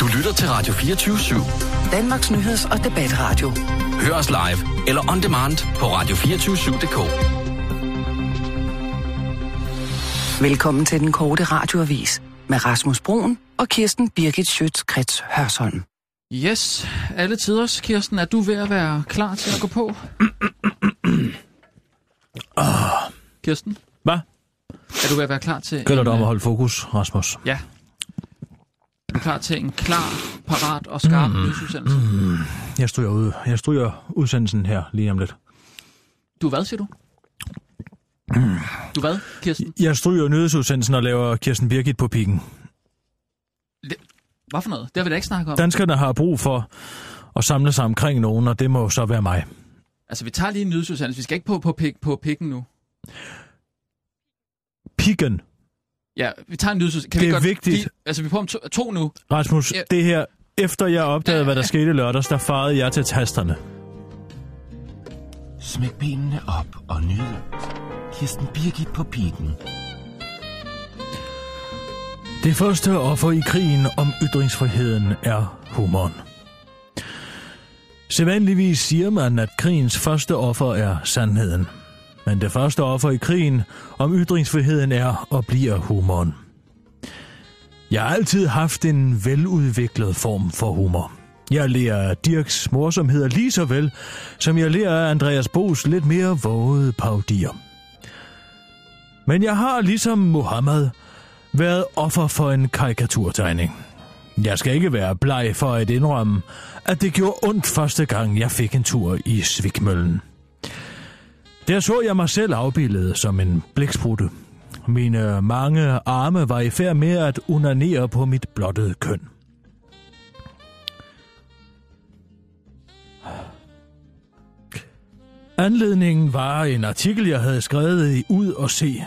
Du lytter til Radio 24 /7. Danmarks nyheds- og debatradio. Hør os live eller on demand på radio247.dk. Velkommen til den korte radioavis med Rasmus Broen og Kirsten Birgit Schøtz-Krets Hørsholm. Yes, alle tiders, Kirsten. Er du ved at være klar til at gå på? Kirsten, Hvad? er du ved at være klar til... Gælder en, det om øh, at holde fokus, Rasmus? Ja. Er du klar til en klar, parat og skarp mm. nyhedsudsendelse? Jeg stryger, ud. jeg stryger udsendelsen her lige om lidt. Du hvad, siger du? Du hvad, Kirsten? Jeg stryger nyhedsudsendelsen og laver Kirsten Birgit på pikken. Hvad for noget? Det har vi da ikke snakket om. Danskerne har brug for at samle sig omkring nogen, og det må så være mig. Altså, vi tager lige en nyhedsudsendelse. Vi skal ikke på, på, pik, på pikken nu. Pikken. Ja, vi tager en nyhedsudsendelse. Kan Det vi er godt, vigtigt. De, altså, vi er på om to, to nu. Rasmus, Ja. det her... Efter jeg opdagede, hvad der skete lørdags, der farede jeg til tasterne. Smæk benene op og nyd. Kirsten Birgit på pikken. Det første offer i krigen om ytringsfriheden er humoren. Sædvanligvis siger man, at krigens første offer er sandheden. Men det første offer i krigen om ytringsfriheden er og bliver humoren. Jeg har altid haft en veludviklet form for humor. Jeg lærer af Dirks morsomheder lige så vel, som jeg lærer af Andreas Bos lidt mere vågede paudier. Men jeg har ligesom Mohammed været offer for en karikaturtegning. Jeg skal ikke være bleg for at indrømme, at det gjorde ondt første gang, jeg fik en tur i Svigmøllen. Der så jeg mig selv afbildet som en blæksprutte. Mine mange arme var i færd med at unanere på mit blottede køn. Anledningen var en artikel, jeg havde skrevet i Ud og Se,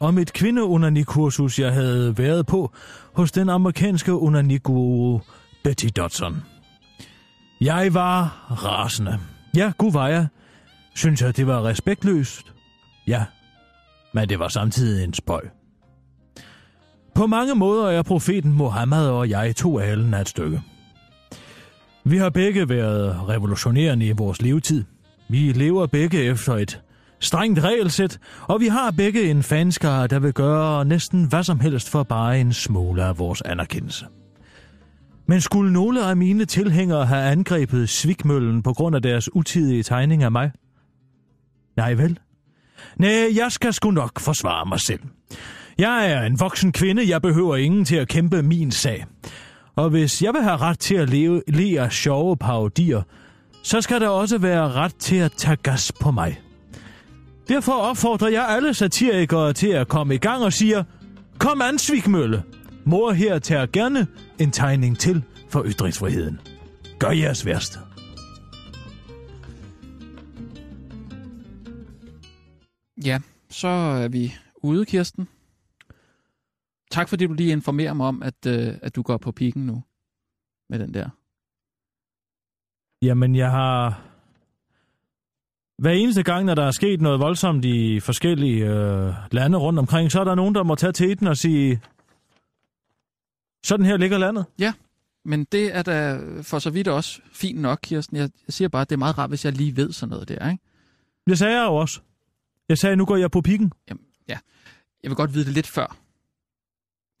om et kvindeundernikursus, jeg havde været på hos den amerikanske underniguru Betty Dodson. Jeg var rasende. Ja, gud var jeg. Synes jeg, det var respektløst? Ja, men det var samtidig en spøj. På mange måder er profeten Mohammed og jeg to alen af et stykke. Vi har begge været revolutionerende i vores levetid. Vi lever begge efter et strengt regelsæt, og vi har begge en fanskare, der vil gøre næsten hvad som helst for bare en smule af vores anerkendelse. Men skulle nogle af mine tilhængere have angrebet svigmøllen på grund af deres utidige tegning af mig? Nej vel? Nej, jeg skal sgu nok forsvare mig selv. Jeg er en voksen kvinde, jeg behøver ingen til at kæmpe min sag. Og hvis jeg vil have ret til at leve, le af sjove parodier, så skal der også være ret til at tage gas på mig. Derfor opfordrer jeg alle satirikere til at komme i gang og siger, kom an, Svigmølle. Mor her tager gerne en tegning til for ytringsfriheden. Gør jeres værste. Ja, så er vi ude, Kirsten. Tak fordi du lige informerer mig om, at, øh, at du går på pikken nu med den der. Jamen, jeg har... Hver eneste gang, når der er sket noget voldsomt i forskellige øh, lande rundt omkring, så er der nogen, der må tage til den og sige, sådan her ligger landet. Men det er da for så vidt også fint nok, Kirsten. Jeg jeg siger bare, at det er meget rart, hvis jeg lige ved sådan noget der, ikke? Det sagde jeg jo også. Jeg sagde, nu går jeg på pikken. Jeg vil godt vide det lidt før.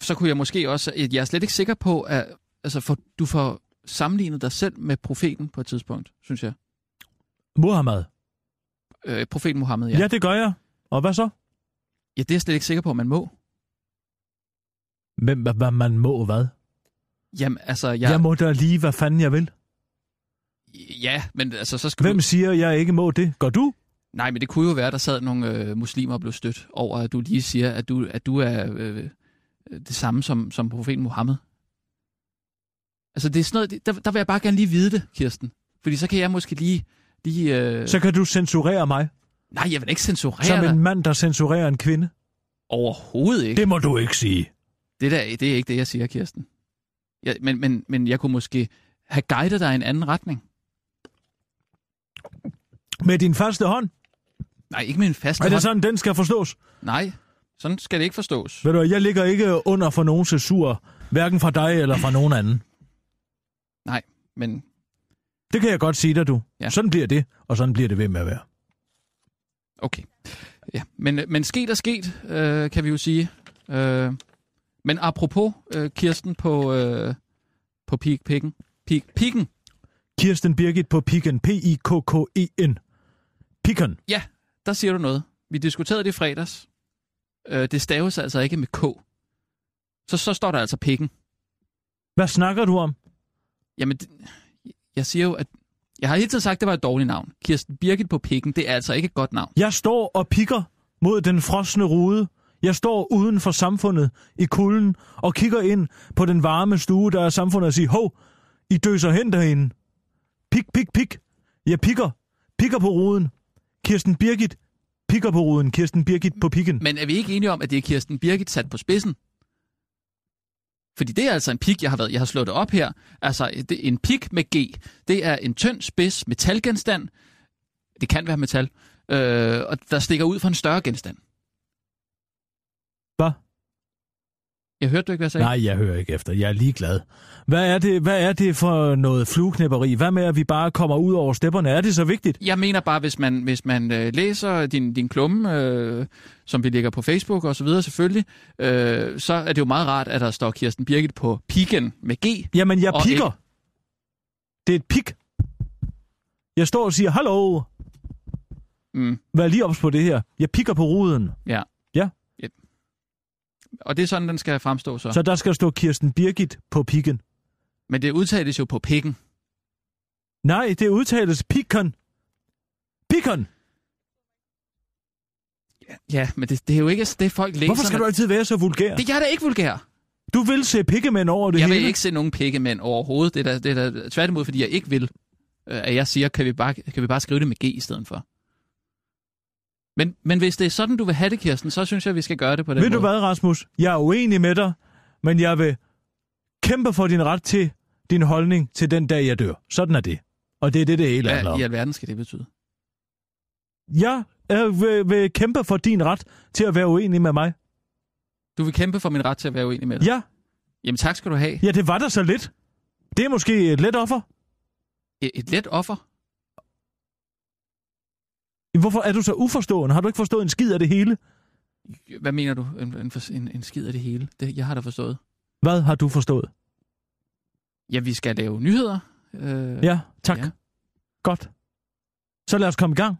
Så kunne jeg måske også... øh, Jeg er slet ikke sikker på, at altså for, du får sammenlignet dig selv med profeten på et tidspunkt, synes jeg. Muhammad. Øh, profeten Mohammed, ja. Ja. ja, det gør jeg. Og hvad så? ja. det er jeg slet ikke sikker på, at man må. Hvem, hvad, hvad man må hvad? Jamen, altså... Jeg, Ja. Jeg må da lige, hvad fanden jeg vil. Ja, men altså, så skal du... Hvem siger, jeg ikke må det? Gør du? Nej, men det kunne jo være, der sad nogle øh, muslimer og blev stødt over, at du lige siger, at du, at du er øh, det samme som, som profeten Mohammed. Altså, det er sådan noget, det- der, der vil jeg bare gerne lige vide det, Kirsten. Fordi så kan jeg måske lige... lige øh... Så kan du censurere mig, Nej, jeg vil da ikke censurere som dig. en mand, der censurerer en kvinde. Overhovedet ikke. Det... Det må du ikke sige. Det, der, det er ikke det, jeg siger, Kirsten. Jeg, men, men, men jeg kunne måske have guidet dig i en anden retning. Med din faste hånd. Nej, ikke med en fast Er hånd. det sådan, den skal forstås? Nej, sådan skal det ikke forstås. Ved du, hvad, jeg ligger ikke under for nogen censur, hverken fra dig eller fra nogen anden. Men Det kan jeg godt sige dig, du. Ja. Ja. Sådan bliver det, og sådan bliver det ved med at være. okay. Ja, men, men sket er sket, øh, kan vi jo sige. Øh, men apropos øh, Kirsten på, øh, på Peak Pikken. Peak Pikken, Kirsten Birgit på Piken. P-I-K-K-E-N. Piken. der siger du noget. Vi diskuterede det i fredags. Øh, det staves altså ikke med K. Så, så står der altså Pikken. Hvad snakker du om? Jamen, det, jeg siger jo, at... Jeg har hele tiden sagt, at det var et dårligt navn. Kirsten Birgit på Pikken, det er altså ikke et godt navn. Jeg står og pikker mod den frosne rude. Jeg står uden for samfundet i kulden og kigger ind på den varme stue, der er samfundet og siger, hov, I døser hen derinde. Pik, pik, pik. Jeg pikker. Pikker på ruden. Kirsten Birgit pikker på ruden. Kirsten Birgit på pikken. Men er vi ikke enige om, at det er Kirsten Birgit sat på spidsen? Fordi det er altså en pik, jeg har været. Jeg har slået det op her. Altså, det, en pik med G, det er en tynd spids metalgenstand. Det kan være metal. Øh, og der stikker ud fra en større genstand. Hvad? Jeg hørte du ikke, hvad jeg sagde? Nej, jeg hører ikke efter. Jeg er ligeglad. Hvad er det, hvad er det for noget flueknæpperi? Hvad med, at vi bare kommer ud over stepperne? Er det så vigtigt? Jeg mener bare, hvis man, hvis man øh, læser din, din klumme, øh, som vi lægger på Facebook og så videre selvfølgelig, øh, så er det jo meget rart, at der står Kirsten Birgit på piken med G. Jamen, jeg Og pikker. Det er et pik. Jeg står og siger, hallo, Mm, vær lige ops på det her. Jeg pikker på ruden. ja. Ja. Yep. Og det er sådan, den skal fremstå så. Så så. der skal stå Kirsten Birgit på pikken. Men det udtales jo på pikken. Nej, det udtales pikken. Pikken! Ja, men det, det er jo ikke altså, det, folk læser. Hvorfor skal når- du altid være så vulgær? Det jeg er da ikke vulgær. Du vil se pikkemænd over det Jeg hele. vil ikke se nogen pikkemænd overhovedet. Det er da, det er da tværtimod, fordi jeg ikke vil, øh, at jeg siger, kan vi, bare, kan vi bare skrive det med G i stedet for. Men, men hvis det er sådan, du vil have det, Kirsten, så synes jeg, vi skal gøre det på den Ved måde. du hvad, Rasmus? Jeg er uenig med dig, men jeg vil kæmpe for din ret til din holdning til den dag, jeg dør. Sådan er det. Og det er det, det hele handler Hvad om. i alverden skal det betyde? Jeg øh, vil, vil kæmpe for din ret til at være uenig med mig. Du vil kæmpe for min ret til at være uenig med dig. Ja, Jamen tak skal du have. ja det var der så lidt. Det er måske et let offer. Et, et let offer. Hvorfor er du så uforstående? Har du ikke forstået en skid af det hele? Hvad mener du? En, en, en, en skid af det hele. Det, jeg har da forstået. Hvad har du forstået? Ja, vi skal lave nyheder. Øh, Ja, tak. Ja. Ja. Godt. Så lad os komme i gang.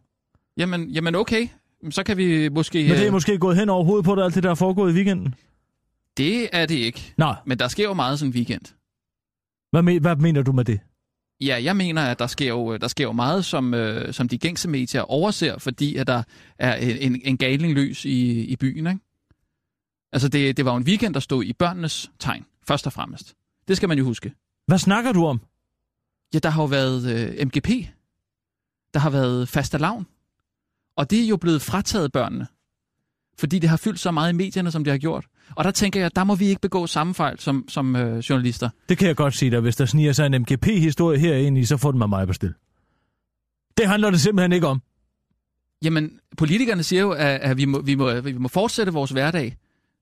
Jamen, jamen okay. Jamen, Så kan vi måske... Men det er øh, måske gået hen over hovedet på dig, alt det, der er foregået i weekenden. det er det ikke. Nej, Men der sker jo meget sådan en weekend. hvad, me- hvad mener du med det? Ja, jeg mener, at der sker jo, der sker jo meget, som, øh, som de gængse medier overser, fordi at der er en, en- en galning løs i, i byen. Ikke? Altså, det, det var jo en weekend, der stod i børnenes tegn, først og fremmest. Det skal man jo huske. Hvad snakker du om? Ja, der har jo været øh, MGP. Der har været fastalavn. Og det er jo blevet frataget børnene. Fordi det har fyldt så meget i medierne, som det har gjort. Og der tænker jeg, der må vi ikke begå samme fejl som, som øh, journalister. Det kan jeg godt sige dig. Hvis der sniger sig en MGP-historie herinde i, så får den mig meget bestil. Det handler det simpelthen ikke om. Jamen, politikerne siger jo, at, at vi, må, vi, må, vi må fortsætte vores hverdag,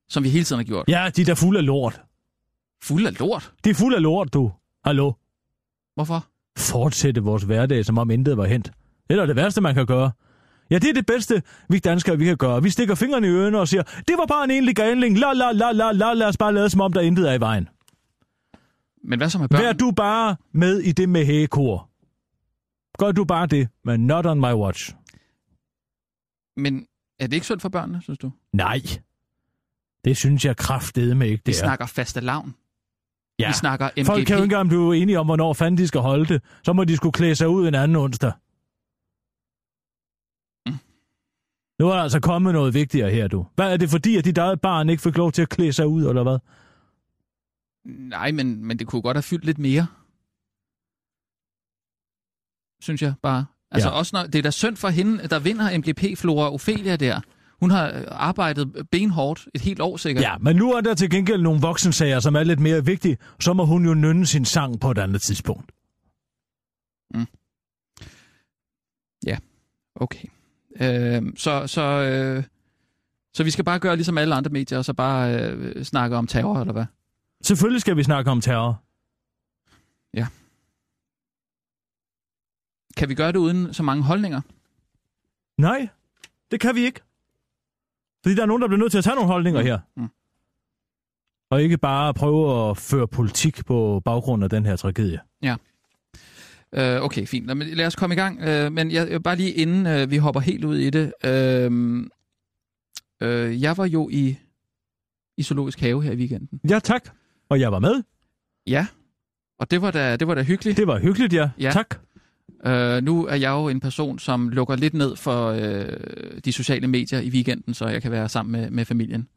som vi hele tiden har gjort. Ja. Ja, de er da fulde af lort. Fuld af lort. De er fulde af lort, du. Hallo. Hvorfor? Fortsætte vores hverdag, som om intet var hent. Det er da det værste, man kan gøre. Ja, det er det bedste, vi danskere vi kan gøre. Vi stikker fingrene i ørerne og siger, det var bare en enlig galning. La la la la la, lad os bare lade som om, der intet er i vejen. Men hvad så med børn? Vær du bare med i det med hægekor. Gør du bare det, men not on my watch. Men er det ikke sundt for børnene, synes du? Nej. Det synes jeg kraftedeme ikke, Vi det ja. er. snakker fastalavn. Ja. Vi snakker MGP. Folk kan jo ikke engang blive enige om, hvornår fanden de skal holde det. Så må de skulle klæde sig ud en anden onsdag. Mm. Nu er der altså kommet noget vigtigere her, du. Hvad er det fordi, at dit eget barn ikke fik lov til at klæde sig ud, eller hvad? Nej, men, men det kunne godt have fyldt lidt mere. Synes jeg bare. Altså Ja. også når, det er da synd for hende, der vinder MGP Flora Ophelia der. Hun har øh, arbejdet benhårdt et helt år sikkert. Ja, men nu er der til gengæld nogle voksensager, som er lidt mere vigtige. Så må hun jo nynne sin sang på et andet tidspunkt. Okay. Øh, så, så, øh, så vi skal bare gøre ligesom alle andre medier, og så bare øh, snakke om terror, eller hvad? Selvfølgelig skal vi snakke om terror. Kan vi gøre det uden så mange holdninger? Nej, det kan vi ikke. Fordi der er nogen, der bliver nødt til at tage nogle holdninger her. Mm. Og ikke bare prøve at føre politik på baggrund af den her tragedie. Øh, okay, fint. Nå, men Lad os komme i gang. Øh, men jeg, jeg- bare lige inden øh, vi hopper helt ud i det. Øh, øh, jeg var jo i, i Zoologisk Have her i weekenden. Ja, tak. Og jeg var med. Ja, og det var da, det var da hyggeligt. Det var hyggeligt, ja. Ja. Tak. Øh, nu er jeg jo en person, som lukker lidt ned for øh, de sociale medier i weekenden, så jeg kan være sammen med, med familien.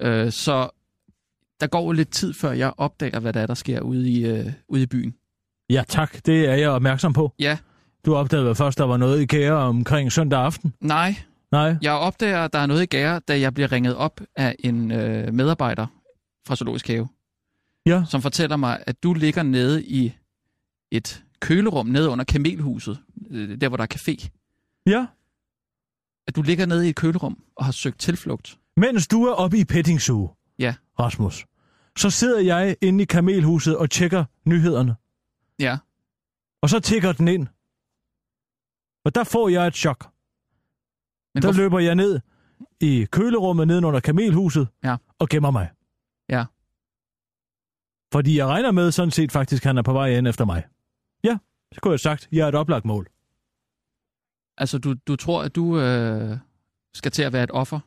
Øh, så der går jo lidt tid, før jeg opdager, hvad der er, der sker ude i, øh, ude i byen. Ja, tak. Det er jeg opmærksom på. Ja. Du opdagede vel først, der var noget i kære omkring søndag aften? Nej, Nej. jeg opdager, at der er noget i gære, da jeg bliver ringet op af en øh, medarbejder fra Zoologisk Have, Ja. som fortæller mig, at du ligger nede i et kølerum nede under kamelhuset, øh, der hvor der er café. Ja. At du ligger nede i et kølerum og har søgt tilflugt. Mens du er oppe i petting Zoo, Ja. Rasmus, så sidder jeg inde i kamelhuset og tjekker nyhederne. Ja. Og så tigger den ind. Og der får jeg et chok. Men der hvorfor- løber jeg ned i kølerummet nedenunder kamelhuset Ja. og gemmer mig. Ja. Fordi jeg regner med sådan set faktisk, at han er på vej ind efter mig. Ja, så kunne jeg have sagt, jeg er et oplagt mål. Altså, du, du tror, at du øh, skal til at være et offer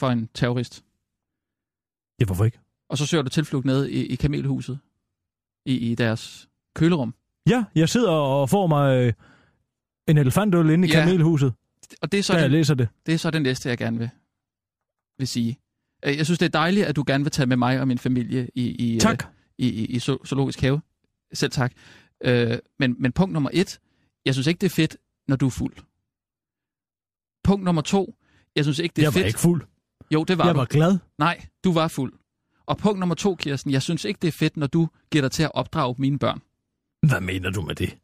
for en terrorist, Ja, hvorfor ikke? og så søger du tilflugt ned i, i kamelhuset, i, i deres kølerum. Ja, jeg sidder og får mig øh, en elefantøl inde i Ja, kamelhuset, Og det er så, da jeg den, læser det. det, er så det næste, jeg gerne vil, vil sige. Øh, Jeg synes, det er dejligt, at du gerne vil tage med mig og min familie i, i, Tak. Øh, i, i, i zo- zoologisk have. Selv tak. Øh, men, men punkt nummer et, jeg synes ikke, det er fedt, når du er fuld. Punkt nummer to, jeg synes ikke, det er jeg var fedt. ikke fuld. Jo, det var jeg du. var glad. Nej, du var fuld. Og punkt nummer to, Kirsten, jeg synes ikke, det er fedt, når du giver dig til at opdrage mine børn. Hvad mener du med det?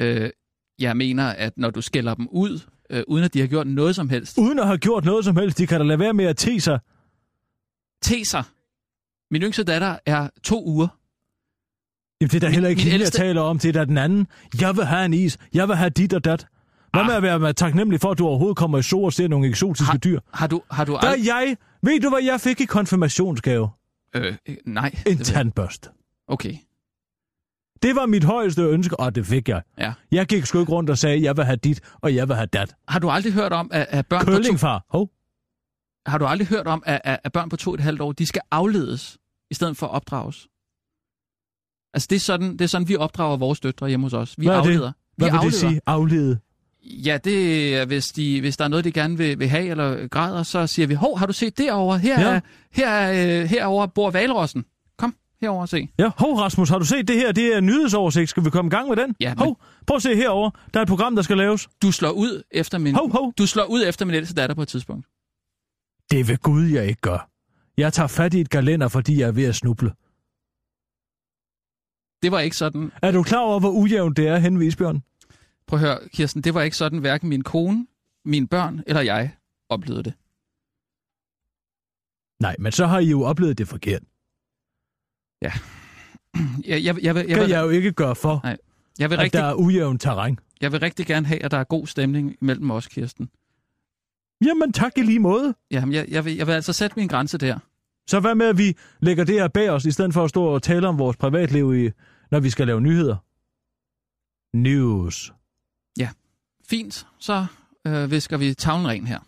Øh, jeg mener, at når du skælder dem ud, øh, uden at de har gjort noget som helst, Uden at have gjort noget som helst, de kan da lade være med at te sig. te sig. Min yngste datter er to uger. Jamen, det er da heller ikke min hende, ældste- jeg taler om. Det er da den anden. Jeg vil have en is. Jeg vil have dit og dat. Hvad Ah. med at være taknemmelig for, at du overhovedet kommer i sol og ser nogle eksotiske Har- dyr? Har du, har du Der er aldrig... jeg... Ved du, hvad jeg fik i konfirmationsgave? Øh, øh, nej. det ved En jeg- tandbørst. Okay. Det var mit højeste ønske, og det fik jeg. Ja. Jeg gik sgu ikke rundt og sagde, jeg vil have dit, og jeg vil have dat. Har du aldrig hørt om, at, at børn på to, Kølingfar. Hov. har du aldrig hørt om, at, at, at børn på to og et halvt år, de skal afledes, i stedet for at opdrages? Altså, det er sådan, det er sådan vi opdrager vores døtre hjemme hos os. Vi Hvad er det? afleder. Hvad vi vil afleder. det sige? Aflede. Ja, det er, hvis, de, hvis der er noget, de gerne vil, vil have eller græder, så siger vi, hov, har du set derovre? Her, Ja. ja. er, her, er, øh, herovre bor valrossen. Kom herover og se. Ja, hov Rasmus, har du set det her? Det er en nyhedsoversigt. Skal vi komme i gang med den? Ja, men- Hov, prøv at se herover. Der er et program, der skal laves. Du slår ud efter min, Hov, hov. du slår ud efter min ældste datter på et tidspunkt. Det vil Gud, jeg ikke gør. Jeg tager fat i et galender, fordi jeg er ved at snuble. Det var ikke sådan, Er du klar over, hvor ujævnt det er hen ved Isbjørn? prøv at høre, Kirsten, det var ikke sådan, hverken min kone, mine børn eller jeg oplevede det. Nej, men så har I jo oplevet det forkert. Jeg, jeg, jeg, jeg, jeg, Kan vil, jeg jo ikke gøre for, Nej, jeg, vil at rigtig, der er ujævnt terræn. jeg vil rigtig gerne have, at der er god stemning mellem os, Kirsten. Jamen tak i lige måde. Jamen, jeg, jeg, vil, jeg vil altså sætte min grænse der. Så hvad med, at vi lægger det her bag os, i stedet for at stå og tale om vores privatliv, i, når vi skal lave nyheder? News. Fint, så øh, visker vi tavlen ren her.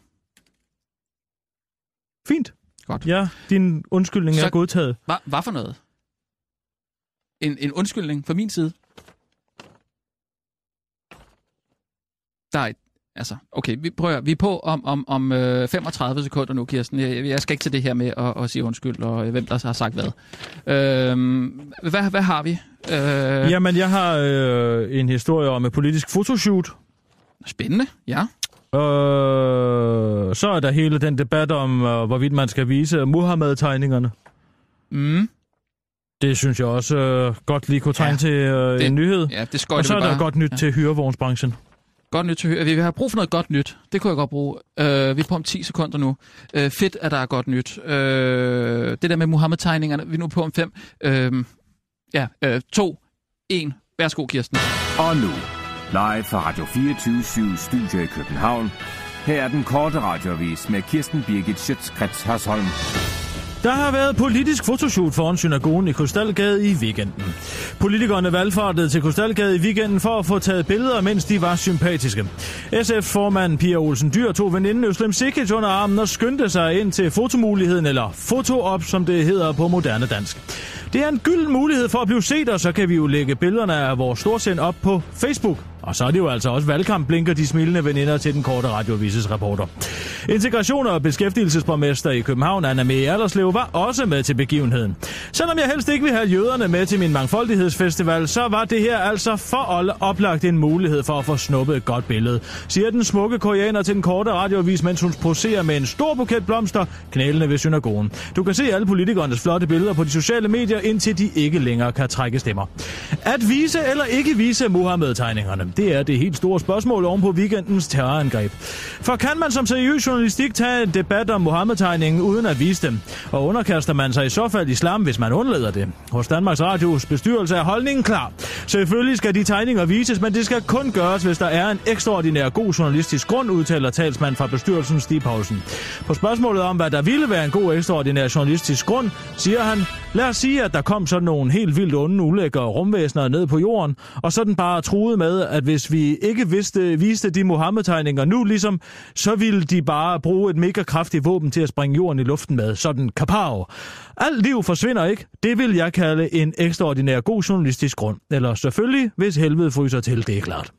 Fint. Godt. Ja, din undskyldning Så- er godtaget. Hvad, hvad for noget? En, en undskyldning fra min side? Der er et, altså, okay, vi prøver, vi er på om, om, om øh, 35 sekunder nu, Kirsten. Jeg, jeg skal ikke til det her med at, at sige undskyld, og øh, hvem der har sagt hvad. Øhm, hvad, hvad har vi? Øh, ja. Jamen, jeg har øh, en historie om et politisk fotoshoot. Spændende, ja. Øh, så er der hele den debat om, øh, hvorvidt man skal vise Muhammed-tegningerne. Mm, Det synes jeg også øh, godt lige kunne tegne Ja, ja, til øh, det- en nyhed. ja, det skøjter Og så vi er der bare. godt nyt ja. ja. til hyrevognsbranchen. Godt nyt til at høre. Vi har brug for noget godt nyt. Det kunne jeg godt bruge. Øh, vi er på om 10 sekunder nu. Øh, fedt, at der er godt nyt. Øh, det der med Mohammed-tegningerne, vi er nu på om 5. Øh, ja, 2, 1. øh, Værsgo, Kirsten. Og nu, Live fra Radio 24 Studio i København. Her er den korte radiovis med Kirsten Birgit Schøtzgrads Hasholm. Der har været politisk fotoshoot foran synagogen i Krystalgade i weekenden. Politikerne valgfartede til Krystalgade i weekenden for at få taget billeder, mens de var sympatiske. SF-formanden Pia Olsen Dyr tog veninden Øslem Sikic under armen og skyndte sig ind til fotomuligheden, eller foto op, som det hedder på moderne dansk. Det er en gylden mulighed for at blive set, og så kan vi jo lægge billederne af vores storsind op på Facebook. Og så er det jo altså også valgkamp, blinker de smilende veninder til den korte radiovises reporter. Integration og beskæftigelsesborgmester i København, Anna Mee Alderslev, var også med til begivenheden. Selvom jeg helst ikke vil have jøderne med til min mangfoldighedsfestival, så var det her altså for alle oplagt en mulighed for at få snuppet et godt billede, siger den smukke koreaner til den korte radiovis, mens hun poserer med en stor buket blomster knælende ved synagogen. Du kan se alle politikernes flotte billeder på de sociale medier, indtil de ikke længere kan trække stemmer. At vise eller ikke vise Mohammed-tegningerne, det er det helt store spørgsmål oven på weekendens terrorangreb. For kan man som seriøs journalistik tage en debat om Mohammed-tegningen uden at vise dem? Og underkaster man sig i så fald islam, hvis man undlader det? Hos Danmarks Radios bestyrelse er holdningen klar. Selvfølgelig skal de tegninger vises, men det skal kun gøres, hvis der er en ekstraordinær god journalistisk grund, udtaler talsmand fra bestyrelsen Stig Poulsen. På spørgsmålet om, hvad der ville være en god ekstraordinær journalistisk grund, siger han, lad os sige, at der kom sådan nogle helt vildt onde ulækre rumvæsener ned på jorden, og sådan bare truede med, at hvis vi ikke vidste, viste de Mohammed-tegninger nu ligesom, så ville de bare bruge et mega kraftigt våben til at springe jorden i luften med, sådan kapav. Alt liv forsvinder ikke, det vil jeg kalde en ekstraordinær god journalistisk grund. Eller selvfølgelig, hvis helvede fryser til, det er klart.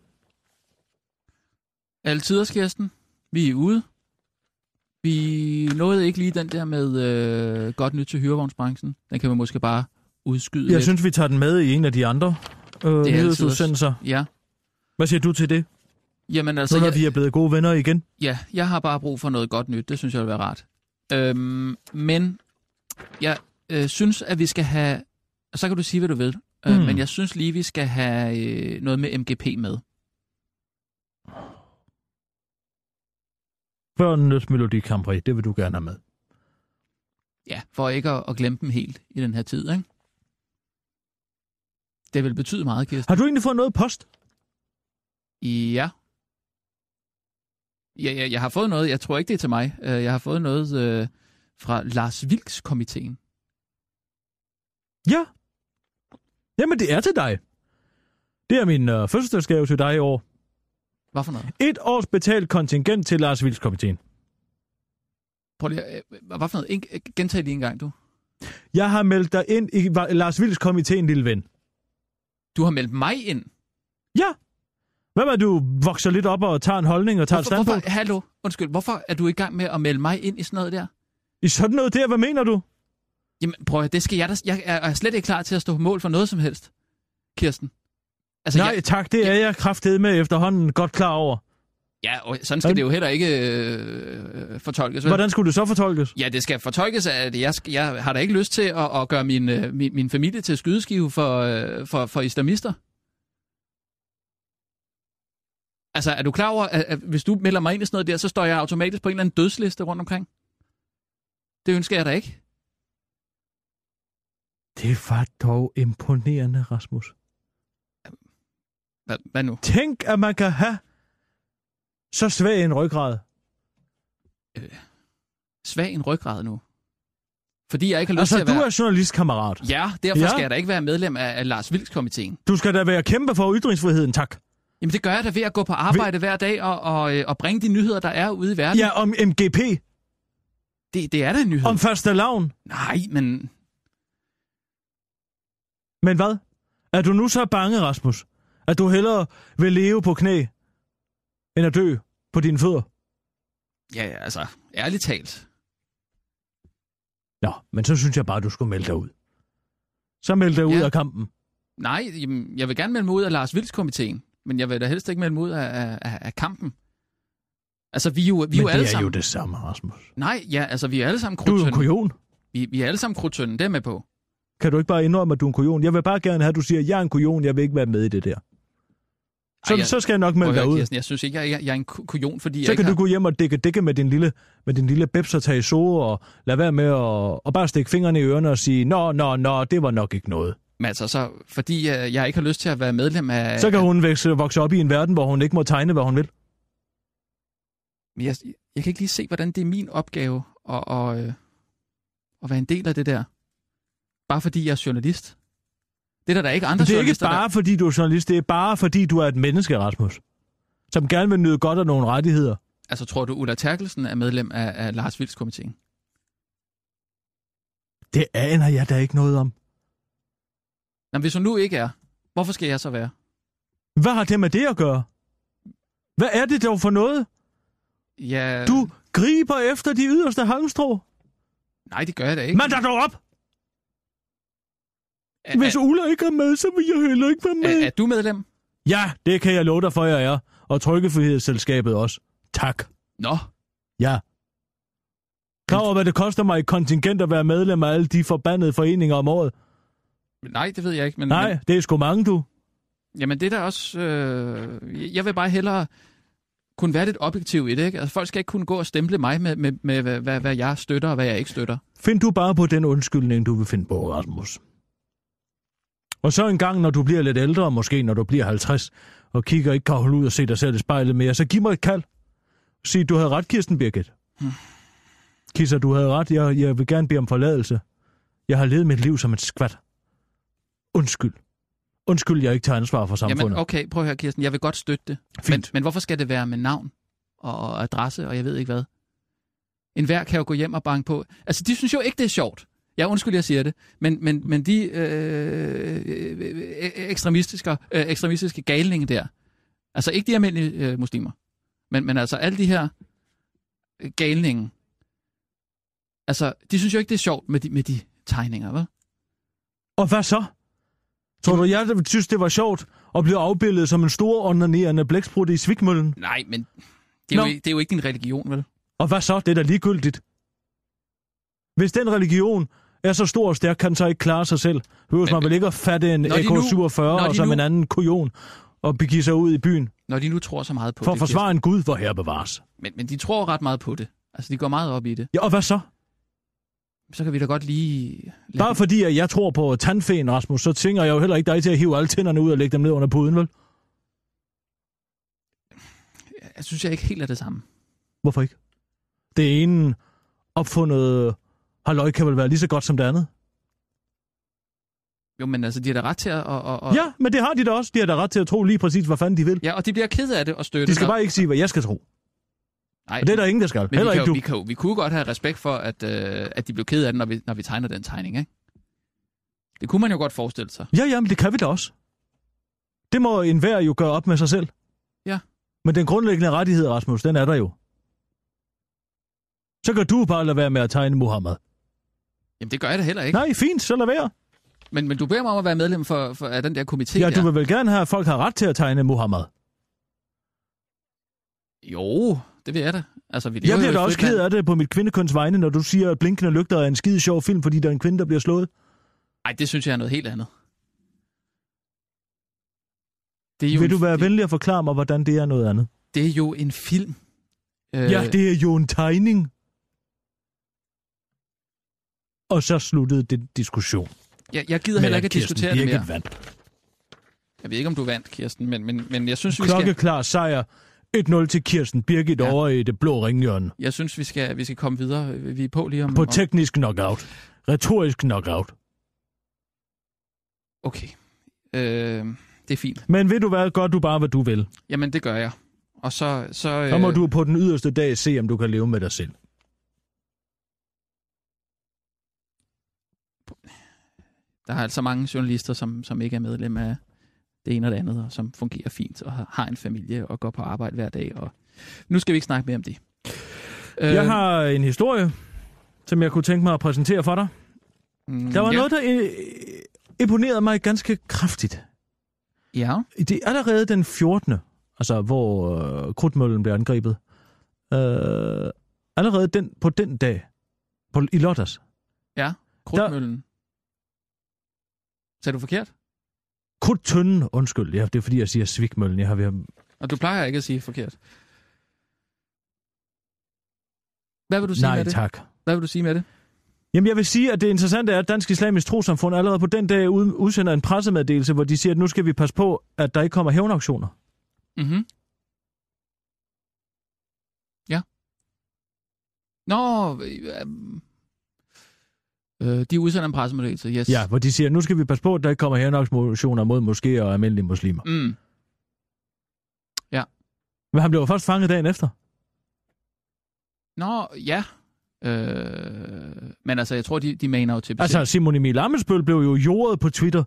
Altiders, Kirsten. Vi er ude. Vi nåede ikke lige den der med øh, godt nyt til hyrevognsbranchen. Den kan man måske bare udskyde Jeg lidt. synes, vi tager den med i en af de andre øh, altid nyhedsudsendelser. Ja. Hvad siger du til det, Jamen nu altså, når jeg, vi er blevet gode venner igen? ja, jeg har bare brug for noget godt nyt. Det synes jeg vil være rart. Øhm, men jeg øh, synes, at vi skal have... Og så kan du sige, hvad du vil. Øh, Mm. men jeg synes lige, vi skal have øh, noget med MGP med. Børnenes Melodi Grand Prix, det vil du gerne have med. Ja, for ikke at, at glemme dem helt i den her tid, ikke? Det vil betyde meget, Kirsten. Har du egentlig fået noget post? Ja. Ja, ja, jeg har fået noget. Jeg tror ikke, det er til mig. Øh, Jeg har fået noget øh, fra Lars Vilks komiteen. Ja. Jamen, det er til dig. Det er min øh, fødselsdagsgave til dig i år. Hvad for noget? Et års betalt kontingent til Lars Vilds komiteen. Prøv lige, at- øh, hvad for noget? En, øh, gentag lige en gang, du. Jeg har meldt dig ind i Va- Lars Vilds komiteen, lille ven. Du har meldt mig ind. Ja. Hvad med, du vokser lidt op og tager en holdning og tager et Hvorfor, standpunkt? hvorfor, hallo, undskyld, hvorfor er du i gang med at melde mig ind i sådan noget der? I sådan noget der, hvad mener du? Altså, Jamen, prøv at, det skal jeg da... Jeg er er slet ikke klar til at stå på mål for noget som helst, Kirsten. Altså, Nej, Jeg, tak, det er jeg kraftedet med efterhånden godt klar over. ja, og sådan skal det jo heller ikke øh, øh, fortolkes. vel? Hvordan skulle det så fortolkes? Ja, det skal fortolkes af, at jeg, sk- jeg har da ikke lyst til at, at gøre min, øh, min, min familie til skydeskive for, øh, for, for islamister. Altså, er du klar over, at, at hvis du melder mig ind i sådan noget der, så står jeg automatisk på en eller anden dødsliste rundt omkring? Det ønsker jeg da ikke. Det var dog imponerende, Rasmus. Hvad, hvad nu? Tænk, at man kan have så svag en ryggrad. Svag en ryggrad nu. Fordi jeg ikke har lyst Altså, til at du være... er journalist, kammerat. Ja, derfor Ja. ja. skal jeg da ikke være medlem af, af Lars Vilks-komiteen. Du skal da være kæmpe for ytringsfriheden, tak. Jamen, det gør jeg da ved at gå på arbejde hver dag og, og, øh, og bringe de nyheder, der er ude i verden. Ja, om MGP, Det, det er da en nyhed. om første lavn. Nej, men Men hvad? Er du nu så bange, Rasmus, at du hellere vil leve på knæ, end at dø på dine fødder? Ja, ja, altså, ærligt talt. Nå, men så synes jeg bare, du skulle melde dig ud. Så meld dig ud Ja. af kampen. Nej, jamen, jeg vil gerne melde mig ud af Lars Vilds komiteen, men jeg vil da helst ikke melde mig ud af, af- af, af kampen. Altså, vi er jo, vi er men jo alle det er sammen... jo det samme, Rasmus. Nej, ja, altså, vi er alle sammen Du er jo en krudtønden. kujon. Vi, vi er alle sammen krudtønden, det er jeg med på. Kan du ikke bare indrømme, at du er en kujon? Jeg vil bare gerne have, at du siger, at jeg er en kujon, jeg vil ikke være med i det der. Så, Ej, jeg- så skal jeg nok melde Prøv at dig høre, ud. Kirsten, jeg synes ikke, jeg, jeg, jeg er en ku- kujon, fordi jeg Så ikke kan du har... gå hjem og dække dække med din lille, med din lille bebs og tage i sove, og lade være med at og bare stikke fingrene i ørerne og sige, nå, nå, nå, det var nok ikke noget. Men altså, så, fordi øh, jeg ikke har lyst til at være medlem af... Så kan hun vækse, vokse op i en verden, hvor hun ikke må tegne, hvad hun vil. Men Jeg, jeg kan ikke lige se, hvordan det er min opgave at, at, øh, at være en del af det der. Bare fordi jeg er journalist. Det er der, der ikke andre Men det er ikke journalister, bare, fordi du er journalist. Det er bare, fordi du er et menneske, Rasmus. Som gerne vil nyde godt af nogle rettigheder. Der... Altså, tror du, Ulla Terkelsen er medlem af, af Lars Vilds komiteen? Det aner jeg da ikke noget om. Jamen, hvis hun nu ikke er, hvorfor skal jeg så være? Hvad har det med det at gøre? Hvad er det dog for noget? Ja, Du griber efter de yderste halmstrå. Nej, det gør jeg da ikke. Men der dog op! er, Hvis er, Ulla ikke er med, så vil jeg heller ikke være med. er, er du medlem? Ja, det kan jeg love dig for, jeg er. Og Trykkefrihedsselskabet også. Tak. Nå, Ja. Klar over, hvad det koster mig i kontingent at være medlem af alle de forbandede foreninger om året? nej, det ved jeg ikke. Men, Nej, det er sgu mange, du. Jamen det er da også... Øh, jeg- jeg vil bare hellere kunne være lidt objektiv i det. Ikke? Altså, folk skal ikke kunne gå og stemple mig med, med, med hvad, hvad, hvad jeg støtter og hvad jeg ikke støtter. Find du bare på den undskyldning, du vil finde på, Rasmus. Og så en gang, når du bliver lidt ældre, måske når du bliver 50, og kigger ikke kan holde ud og se dig selv i spejlet mere, så giv mig et kald. Sig, du havde ret, Kirsten Birgit. Kisser, du havde ret. Jeg, jeg vil gerne bede om forladelse. Jeg har levet mit liv som et skvat. Undskyld. Undskyld, jeg ikke tager ansvar for samfundet. Jamen okay, prøv at høre Kirsten, jeg vil godt støtte det. Men, Fint. men hvorfor skal det være med navn og, og adresse og jeg ved ikke hvad? En hver kan jo gå hjem og banke på. Altså de synes jo ikke, det er sjovt. Jeg undskyld, jeg siger det. Men, men, men de øh, øh, ekstremistiske, øh, ekstremistiske galninge der, altså ikke de almindelige øh, muslimer, men, men altså alle de her øh, galninge, altså de synes jo ikke, det er sjovt med de, med de tegninger, vel? Og hvad så? Tror du, jeg synes, det var sjovt at blive afbildet som en stor onanerende blæksprutte i svigmøllen? Nej, men det er, Nå. jo, ikke- det er jo ikke din religion, vel? Og hvad så? Det er da ligegyldigt. Hvis den religion er så stor og stærk, kan den så ikke klare sig selv. Behøver man vel ikke at fatte en Når de nu- AK-47 når og de som nu- en anden kujon og begive sig ud i byen Når de nu tror så meget på for at det. Kirsten. forsvare en gud, hvor herre bevares. Men, men de tror ret meget på det. Altså, de går meget op i det. Ja, og hvad så? Så kan vi da godt lige... lade Bare dem- fordi, at jeg tror på tandfæen, Rasmus, så tænker jeg jo heller ikke dig til at hive alle tænderne ud og lægge dem ned under puden, vel? Jeg synes, jeg ikke helt er det samme. Hvorfor ikke? Det ene opfundet halløj kan vel være lige så godt som det andet. Jo, men altså, de har da ret til at... Og, og, og, Ja, men det har de da også. De har da ret til at tro lige præcis, hvad fanden de vil. ja, og de bliver ked af det og støtter. De skal så- bare ikke sige, hvad jeg skal tro. Nej, Og det er der ingen, der skal. men vi, Heller kan ikke jo, du. vi, kan jo, vi kunne godt have respekt for, at, øh, at de blev ked af det, når vi, når vi tegner den tegning, ikke? Det kunne man jo godt forestille sig. Ja, jamen, det kan vi da også. Det må enhver jo gøre op med sig selv. Ja. Men den grundlæggende rettighed, Rasmus, den er der jo. Så kan du bare lade være med at tegne Muhammed. Jamen, det gør jeg da heller ikke. Nej, fint, så lad være. Men, men du beder mig om at være medlem for, for, af den der komité Ja, der. du vil vel gerne have, at folk har ret til at tegne Muhammed. Jo, det vil jeg da. Altså, vi lever Jeg bliver jo i da et også frit ked land. af det på mit kvindekøns vegne, når du siger, at Blinkende Lygter er en skide sjov film, fordi der er en kvinde, der bliver slået. Nej, det synes jeg er noget helt andet. Det er Vil du en- være det- venlig at forklare mig, hvordan det er noget andet? Det er jo en film. Øh, Ja, det er jo en tegning. Og så sluttede den diskussion. jeg, jeg gider heller ikke at diskutere det mere. mere. Vandt. Jeg ved ikke, om du vandt, Kirsten, men, men, men jeg, synes, vi skal, Klokkeklar sejr. 1-0 til Kirsten Birgit Ja. ja. over i det blå ringhjørne. jeg synes, vi skal, vi skal komme videre. Vi er på lige om... På om- teknisk knockout. Retorisk knockout. Okay. Øh, det er fint. Men ved du hvad, gør du bare, hvad du vil. Jamen, det gør jeg. Og så... Så, øh, Så må du på den yderste dag se, om du kan leve med dig selv. Der er altså mange journalister, som, som ikke er medlem af det ene og det andet, og som fungerer fint, og har- har en familie, og går på arbejde hver dag. Og... Nu skal vi ikke snakke mere om det. Øh, Jeg har en historie, som jeg kunne tænke mig at præsentere for dig. mm, Der var ja, noget, der øh, imponerede mig ganske kraftigt. Ja, Det er allerede den 14., altså hvor øh, krudtmøllen blev angrebet. Øh, allerede den, på den dag, på, i lørdags, ja. Krudtmøllen. Sagde du forkert? krudtønden, undskyld, ja, det er fordi, jeg siger svigmøllen, jeg har ved Og du plejer ikke at sige forkert. Hvad vil du sige Nej, med det? tak. Hvad vil du sige med det? Jamen, jeg vil sige, at det interessante er, at Dansk Islamisk Trosamfund allerede på den dag ud- udsender en pressemeddelelse, hvor de siger, at nu skal vi passe på, at der ikke kommer hævnauktioner. Mm-hmm. Ja. Nå, øh, øh, de udsender en pressemeddelelse, yes. Ja, hvor de siger, at nu skal vi passe på, at der ikke kommer hævnauktioner mod moskéer og almindelige muslimer. Mm. Men han blev jo først fanget dagen efter. Nå, ja. Øh, men altså, jeg tror, de, de maner jo til besættelse. Altså, Simon Emil Amesbøl blev jo jordet på Twitter,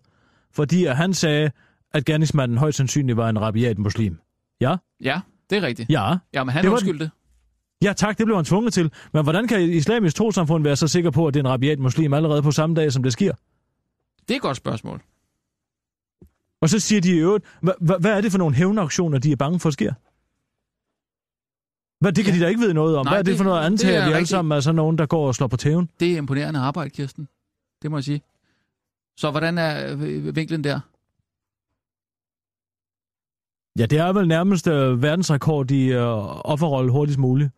fordi at han sagde, at gerningsmanden højst sandsynligt var en rabiat muslim. Ja, Ja, det er rigtigt. ja. Ja, men han Det det var undskyldte. Ja tak, det blev han tvunget til. Men hvordan kan et islamisk trosamfund være så sikker på, at det er en rabiat muslim allerede på samme dag, som det sker? Det er et godt spørgsmål. Og så siger de i øvrigt, "Hva- hva- hvad er det for nogle hævnauktioner, de er bange for sker? Hvad, det kan ja. de da ikke vide noget om. Nej, hvad er det, det- for noget at det antage, er at vi alle rigtigt. sammen er sådan nogen, der går og slår på tæven? Det er imponerende arbejde, Kirsten. Det må jeg sige. Så hvordan er øh, vinklen der? Ja, det er vel nærmest øh, verdensrekord i øh, offerrolle hurtigst muligt.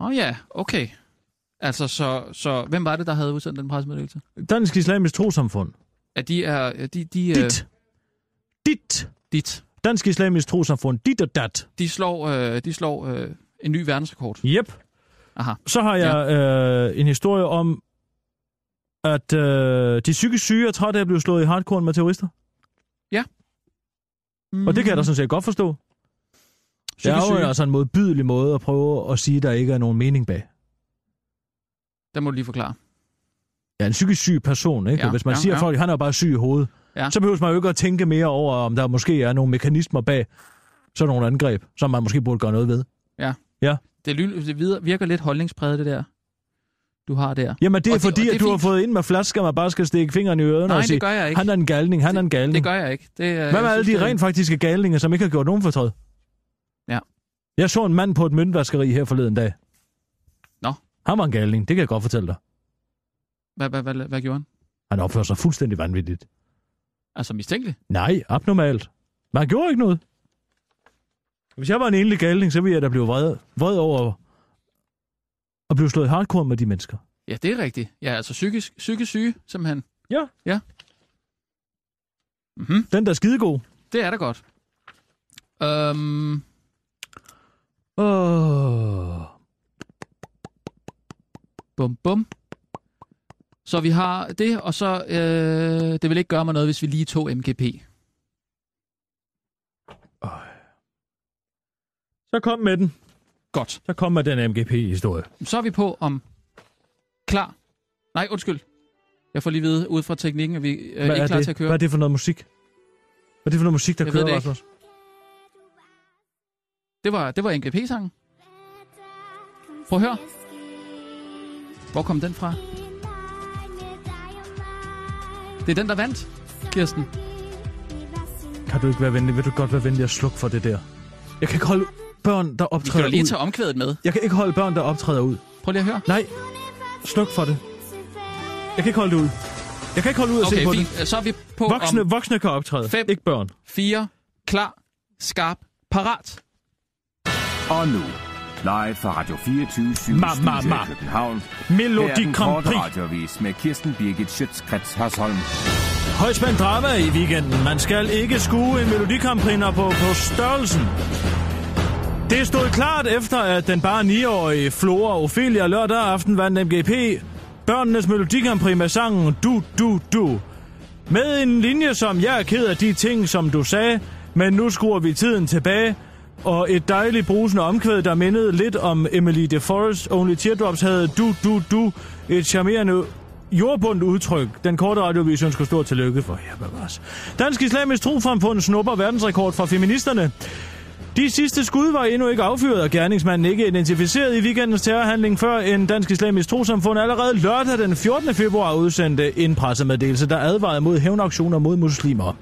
Åh oh, ja, okay. Altså, så, så hvem var det, der havde udsendt den pressemeddelelse? Dansk Islamisk Trosamfund. At de er... øh, De, de, øh, Dit. Dit. dit. Dansk Islamisk Trosamfund. Dit og dat. De slår, øh, de slår øh, en ny verdensrekord. Jep. Aha. Så har jeg øh, en historie om, at øh, de psykisk syge er trætte af at blive slået i hardcore med terrorister. Mm. Og det kan jeg da sådan set godt forstå. Det er jo Mhm. syge. altså en modbydelig måde at prøve at sige, at der ikke er nogen mening bag. Der må du lige forklare. Ja, en psykisk syg person, ikke? Ja, Ja, Hvis man ja, siger, at ja. folk, han er jo bare syg i hovedet, Ja. ja. så behøver man jo ikke at tænke mere over, om der måske er nogle mekanismer bag sådan nogle angreb, som man måske burde gøre noget ved. Det, ly- det videre- virker lidt holdningspræget, det der, du har der. Jamen, det Og er det- fordi, og det er at du har fint. fået ind med flasker, man bare skal stikke fingrene i ørerne Nej, og sige, det gør jeg ikke. han er en galning, han er en galning. Det gør jeg ikke. Det, Hvad med alle de rent faktiske galninger, som ikke har gjort nogen fortræd? Ja. Jeg så en mand på et møntvaskeri her forleden dag. Nå. Han var en galning, det kan jeg godt fortælle dig. Hvad, hvad, hvad, hvad gjorde han? Han opfører sig fuldstændig vanvittigt. Altså mistænkelig? Nej, abnormalt. Men han gjorde ikke noget. Hvis jeg var en enlig galning, så ville jeg da blive vred, vred over at blive slået hardcore med de mennesker. Ja, det er rigtigt. Ja, altså psykisk, psykisk syge, simpelthen. Ja. Ja. Mm-hmm. Den der er skidegod. Det er da godt. Øhm, Åh. bum, bum. Så vi har det, og så... Øh, det vil ikke gøre mig noget, hvis vi lige tog MGP. Så kom med den. Godt. Så kom med den MGP-historie. Så er vi på om... Klar. Nej, undskyld. Jeg får lige at vide ud fra teknikken, at vi øh, Hvad ikke er klar det? til at køre. Hvad er det for noget musik? Hvad er det for noget musik, der Jeg ved kører, det ikke. Rasmus? Det var, det var MGP-sangen. Prøv at høre. Hvor kom den fra? Det er den, der vandt, Kirsten. Kan du ikke være venlig? Vil du godt være venlig at slukke for det der? Jeg kan ikke holde børn, der Vi kan optræder jo lige ud. tage omkvædet med. Jeg kan ikke holde børn, der optræder ud. Prøv lige at høre. Nej, sluk for det. Jeg kan ikke holde det ud. Jeg kan ikke holde ud at Okay, se på fint. det. Så er vi på Voksne, om voksne kan optræde, Fem. ikke børn. fire. Klar, skarp, parat. Og nu, live fra Radio 24 Ma, ma, Studio ma. i København. Her er Melodi den Grand korte Prix. radiovis med Kirsten Birgit Schøtzgrads Hasholm. Højspændt drama i weekenden. Man skal ikke skue en Melodi Grand Prix på, på størrelsen. Det stod klart efter, at den bare 9-årige Flora Ophelia lørdag aften vandt MGP Børnenes Melodi Grand Prix med sangen Du, Du, Du. Med en linje, som jeg er ked af de ting, som du sagde, men nu skruer vi tiden tilbage, og et dejligt brusende omkvæd, der mindede lidt om Emily de Forest. Only Teardrops havde du, du, du, et charmerende jordbundt udtryk. Den korte radiovis ønsker stor tillykke for jer, bevares. Dansk Islamisk Trofamfund snupper verdensrekord fra feministerne. De sidste skud var endnu ikke affyret, og gerningsmanden ikke identificeret i weekendens terrorhandling, før en dansk islamisk trosamfund allerede lørdag den 14. februar udsendte en pressemeddelelse, der advarede mod hævnauktioner mod muslimer.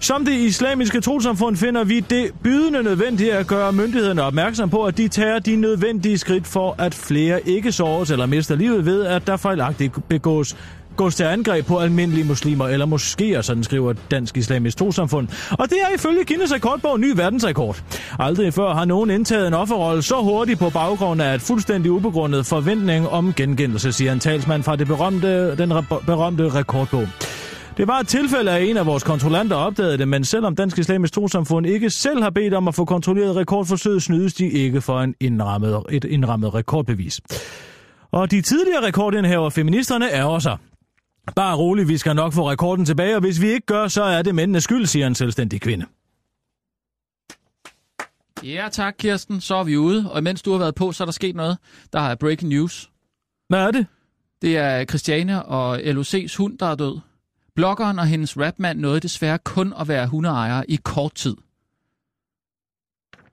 Som det islamiske trosamfund finder vi det bydende nødvendigt at gøre myndighederne opmærksom på, at de tager de nødvendige skridt for, at flere ikke såres eller mister livet ved, at der fejlagtigt begås gås til angreb på almindelige muslimer, eller moskéer, sådan skriver Dansk Islamisk Trosamfund. Og det er ifølge Guinness rekordbog ny verdensrekord. Aldrig før har nogen indtaget en offerrolle så hurtigt på baggrund af et fuldstændig ubegrundet forventning om gengældelse, siger en talsmand fra det berømte, den re- berømte rekordbog. Det var et tilfælde, at en af vores kontrollanter opdagede det, men selvom Dansk Islamisk Trosamfund ikke selv har bedt om at få kontrolleret rekordforsøget, snydes de ikke for en indrammet, et indrammet rekordbevis. Og de tidligere rekordindhaver, feministerne, ærger sig. Bare rolig, vi skal nok få rekorden tilbage, og hvis vi ikke gør, så er det mændenes skyld, siger en selvstændig kvinde. Ja tak, Kirsten. Så er vi ude, og imens du har været på, så er der sket noget. Der er breaking news. Hvad er det? Det er Christiane og LOC's hund, der er død. Bloggeren og hendes rapmand nåede desværre kun at være hundeejer i kort tid.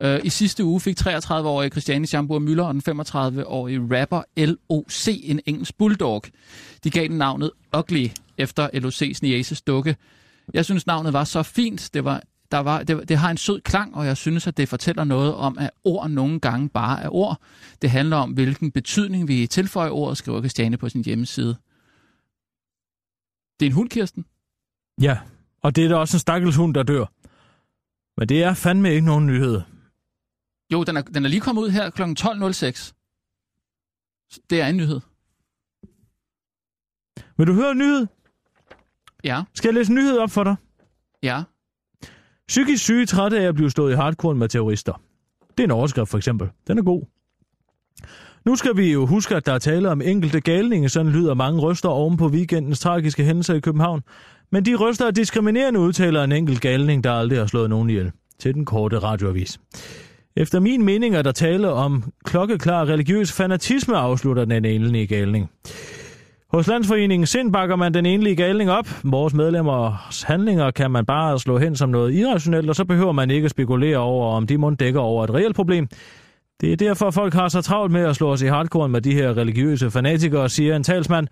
Øh, I sidste uge fik 33-årige Christiane Schamburg Møller og den 35-årige rapper LOC en engelsk bulldog. De gav den navnet Ugly efter LOC's niaces dukke. Jeg synes, navnet var så fint. Det, var, der var, det, det har en sød klang, og jeg synes, at det fortæller noget om, at ord nogle gange bare er ord. Det handler om, hvilken betydning vi tilføjer ordet, skriver Christiane på sin hjemmeside. Det er en hund, Kirsten. Ja, og det er da også en stakkels hund, der dør. Men det er fandme ikke nogen nyhed. Jo, den er, den er lige kommet ud her kl. 12.06. Så Det er en nyhed. Vil du høre en nyhed? Ja, Skal jeg læse en nyhed op for dig? ja. Psykisk syge trætte af at blive slået i hardcore med terrorister. Det er en overskrift for eksempel. Den er god. Nu skal vi jo huske, at der er tale om enkelte galninge, sådan lyder mange røster oven på weekendens tragiske hændelser i København. Men de røster er diskriminerende, udtaler en enkelt galning, der aldrig har slået nogen ihjel. Til den korte radioavis. Efter min mening er der tale om klokkeklar religiøs fanatisme, afslutter den enlige galning. Hos Landsforeningen Sind bakker man den enlige galning op. Vores medlemmers handlinger kan man bare slå hen som noget irrationelt, og så behøver man ikke spekulere over, om de mund dækker over et reelt problem. Det er derfor, folk har så travlt med at slå os i hardcore med de her religiøse fanatikere, siger en talsmand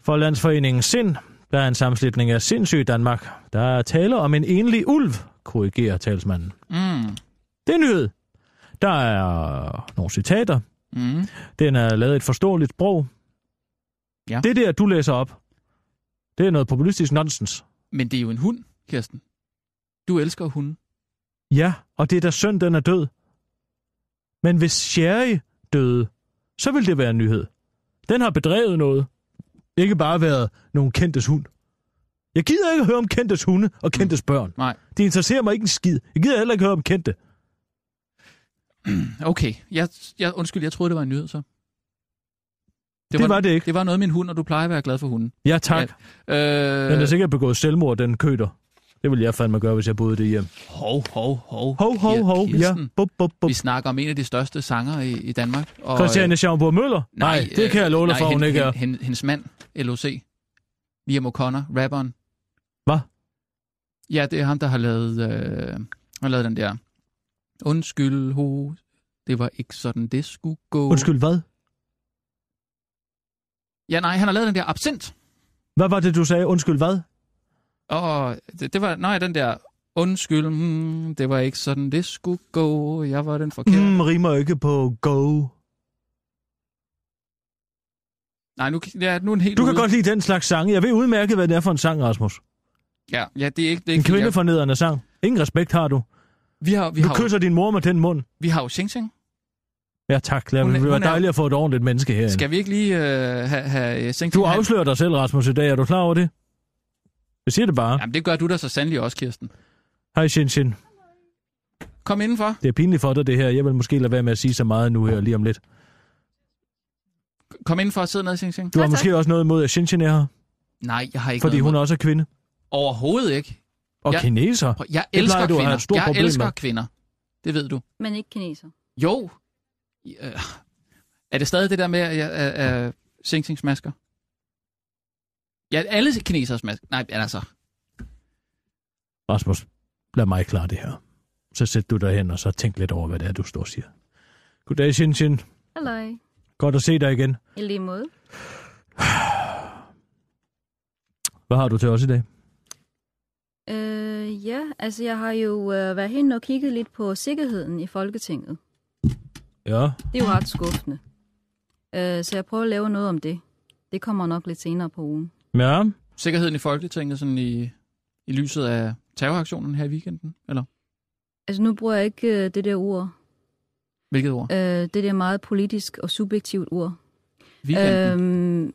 for Landsforeningen Sind, der er en sammenslutning af sindssyg i Danmark. Der er tale om en enlig ulv, korrigerer talsmanden. Mm. Det er en nyhed. Der er nogle citater. Mm. Den er lavet i et forståeligt sprog. Ja. Det der, du læser op, det er noget populistisk nonsens. Men det er jo en hund, Kirsten. Du elsker hunde. Ja, og det er da synd, den er død. Men hvis Sherry døde, så ville det være en nyhed. Den har bedrevet noget. Ikke bare været nogen kendtes hund. Jeg gider ikke høre om kendtes hunde og kendtes børn. Mm. Nej. Det interesserer mig ikke en skid. Jeg gider heller ikke høre om kendte. Okay, jeg, jeg, undskyld, jeg troede, det var en nyhed, så. Det var det ikke. Det var noget med en hund, og du plejer at være glad for hunden. Ja, tak. Ja. Ja. Den er Øh, sikkert begået selvmord, den køter. Det ville jeg fandme gøre, hvis jeg boede i det hjem. hov, hov, hov. Hov, hov, Kir- hov. Ja, Kirsten, bup, bup, bup. Vi snakker om en af de største sanger i, i Danmark. Og, Christiane Schaumburg Møller? Nej, nej, det øh, kan jeg love dig nej, for, hun hende- ikke er. hende- hende- Hendes mand, LOC. Liam O'Connor, rapperen. Hvad? Ja, det er ham, der har lavet, øh, han har lavet den der. Undskyld, ho. Det var ikke sådan, det skulle gå. Undskyld, hvad? Ja, nej, han har lavet den der absint. Hvad var det, du sagde? Undskyld, hvad? Og det, det var, nej, den der, undskyld, hmm, det var ikke sådan, det skulle gå. Jeg var den forkerte. Mm. Mm, rimer ikke på go. Nej, nu, ja, nu er den helt Du kan ude. godt lide den slags sange. Jeg ved udmærket, hvad det er for en sang, Rasmus. Ja, ja, det er ikke... Det er En ikke ja. kvindefornedrende sang. Ingen respekt har du. Vi har, vi Du har, jo, kysser din mor med den mund. vi har jo Xing Xing. Ja tak, det Hun er- ville være hun er- dejligt at få et ordentligt menneske herinde. Skal vi ikke lige øh, have, have Sing Du afslører dig selv, Rasmus, i dag. Er du klar over det? Jeg siger det bare. Jamen, det gør du da så sandelig også, Kirsten. Hej, Shin Shin. Kom indenfor. Det er pinligt for dig, det her. Jeg vil måske lade være med at sige så meget nu her lige om lidt. Kom indenfor og sidde ned, Xing Xing. Du har måske også noget imod, at Shin Shin er her, Nej, jeg har ikke fordi noget hun imod- også er kvinde. Overhovedet ikke. Og Ja. kineser. Prøv, Jeg Det elsker plejer du at have kvinder. et stort jeg problem elsker med. kvinder. Det ved du. Men ikke kineser. Jo. Øh, Er det stadig det der med, at jeg er uh, Xing Xings masker? Ja, alle kinesers masker. Nej, men altså. Rasmus, lad mig klare det her. Så sæt du dig hen, og så tænk lidt over, hvad det er, du står og siger. Goddag, Shin Shin. Halløj. Godt at se dig igen. I lige måde. Hvad har du til os i dag? Øh, ja, altså jeg har jo øh, været hen og kigget lidt på sikkerheden i Folketinget. Ja, Det er jo ret skuffende. Øh, så jeg prøver at lave noget om det. Det kommer nok lidt senere på ugen. Ja, Sikkerheden i Folketinget sådan i, i lyset af terroraktionen her i weekenden? Eller Altså nu bruger jeg ikke øh, det der ord. hvilket ord? Øh, det der meget politisk og subjektivt ord. Weekenden? Øhm,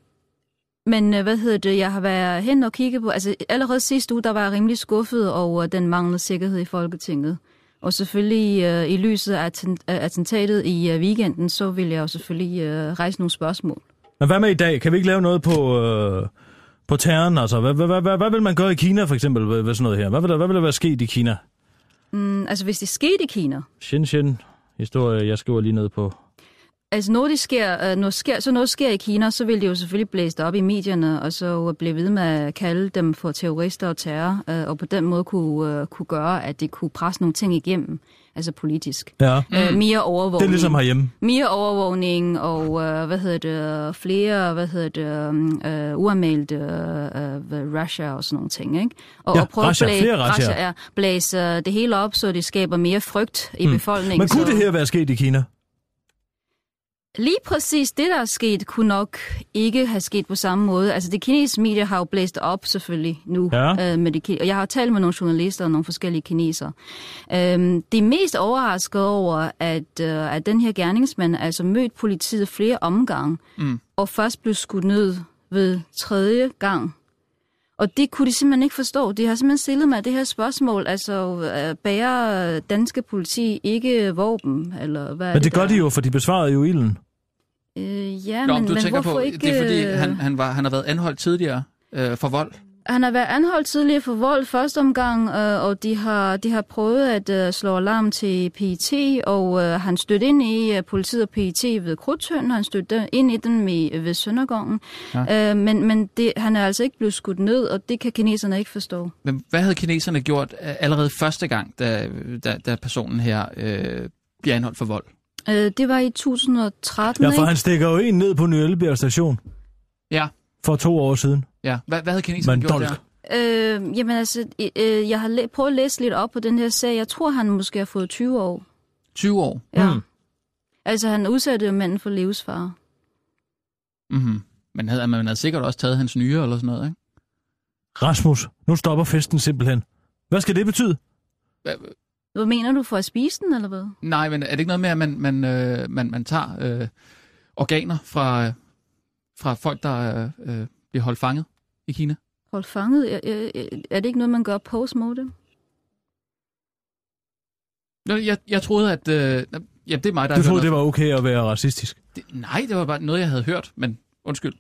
men øh, hvad hedder det, jeg har været hen og kigge på, altså allerede sidste uge, der var jeg rimelig skuffet over den manglende sikkerhed i Folketinget. Og selvfølgelig øh, i lyset af atten- af attentatet i øh, weekenden, så vil jeg jo selvfølgelig øh, rejse nogle spørgsmål. Men hvad med i dag? Kan vi ikke lave noget på, øh, på terroren? Altså, hvad, hvad, hvad, hvad, hvad vil man gøre i Kina, for eksempel, ved, ved sådan noget her? Hvad vil, der, hvad vil der være sket i Kina? Mm, altså hvis det skete i Kina, Shenzhen, historie, jeg skriver lige ned på. altså når det sker, øh, når sker, så noget sker i Kina, så vil det jo selvfølgelig blæse det op i medierne, og så øh, blive ved med at kalde dem for terrorister og terror, øh, og på den måde kunne, øh, kunne gøre, at det kunne presse nogle ting igennem, altså politisk. Ja, mm. Øh, mere overvågning. det er ligesom herhjemme. Mere overvågning og, øh, hvad hedder det, flere, hvad hedder det, um, øh, uanmeldte øh, hvad, Russia og sådan nogle ting, ikke? Og, Ja, og prøve razziaer, blæ- flere razziaer. razziaer, blæse øh, det hele op, så det skaber mere frygt i mm. befolkningen. Men kunne så... det her være sket i Kina? Lige præcis det, der er sket, kunne nok ikke have sket på samme måde. Altså, det kinesiske medie har jo blæst op selvfølgelig nu. Ja. Øh, med det, ki- og jeg har talt med nogle journalister og nogle forskellige kinesere. Øhm, det er mest overrasket over, at, øh, at den her gerningsmand altså mødte politiet flere omgange, Mm. og først blev skudt ned ved tredje gang. Og det kunne de simpelthen ikke forstå. De har simpelthen stillet mig det her spørgsmål, altså øh, bærer øh, danske politi ikke våben, eller hvad er Men det der gør er? de jo, for de besvarede jo ilden. Øh, ja, Nå, men, men du men tænker hvorfor på, ikke... det er fordi, øh, han, han, var, han har været anholdt tidligere øh, for vold. han har været anholdt tidligere for vold første omgang, øh, og de har, de har prøvet at øh, slå alarm til PET, og øh, han stødte ind i øh, politiet og PET ved Krudtøn, han stødte ind i den med, ved Søndergården. Ja. Øh, men men det, han er altså ikke blevet skudt ned, og det kan kineserne ikke forstå. Men hvad havde kineserne gjort øh, allerede første gang, da, da, da personen her øh, bliver anholdt for vold? Øh, det var i 2013, Ja, for ikke? han stikker jo en ned på Ny Ellebjerg station Ja, for to år siden. ja. Hvad, hvad havde kineserne Men gjort dolk. der? Øh, jamen altså, øh, jeg har læ- prøvet at læse lidt op på den her sag. Jeg tror, han måske har fået 20 år. 20 år? Ja. Mm. Mm. Altså, han udsatte jo manden for livsfare. Mm-hmm. Men havde, man havde sikkert også taget hans nyre eller sådan noget, ikke? Rasmus, nu stopper festen simpelthen. Hvad skal det betyde? Hva- Hvad mener du, for at spise den, eller hvad? Nej, men er det ikke noget med, at man, man, øh, man, man tager øh, organer fra, øh, fra folk, der øh, øh, bliver holdt fanget i Kina? Hold fanget? Er, er, er det ikke noget, man gør postmortem? Nå, Jeg, jeg troede, at... Øh, ja, det er mig, der Du har hørt troede, noget det var okay at være racistisk. Det, nej, det var bare noget, jeg havde hørt, men undskyld.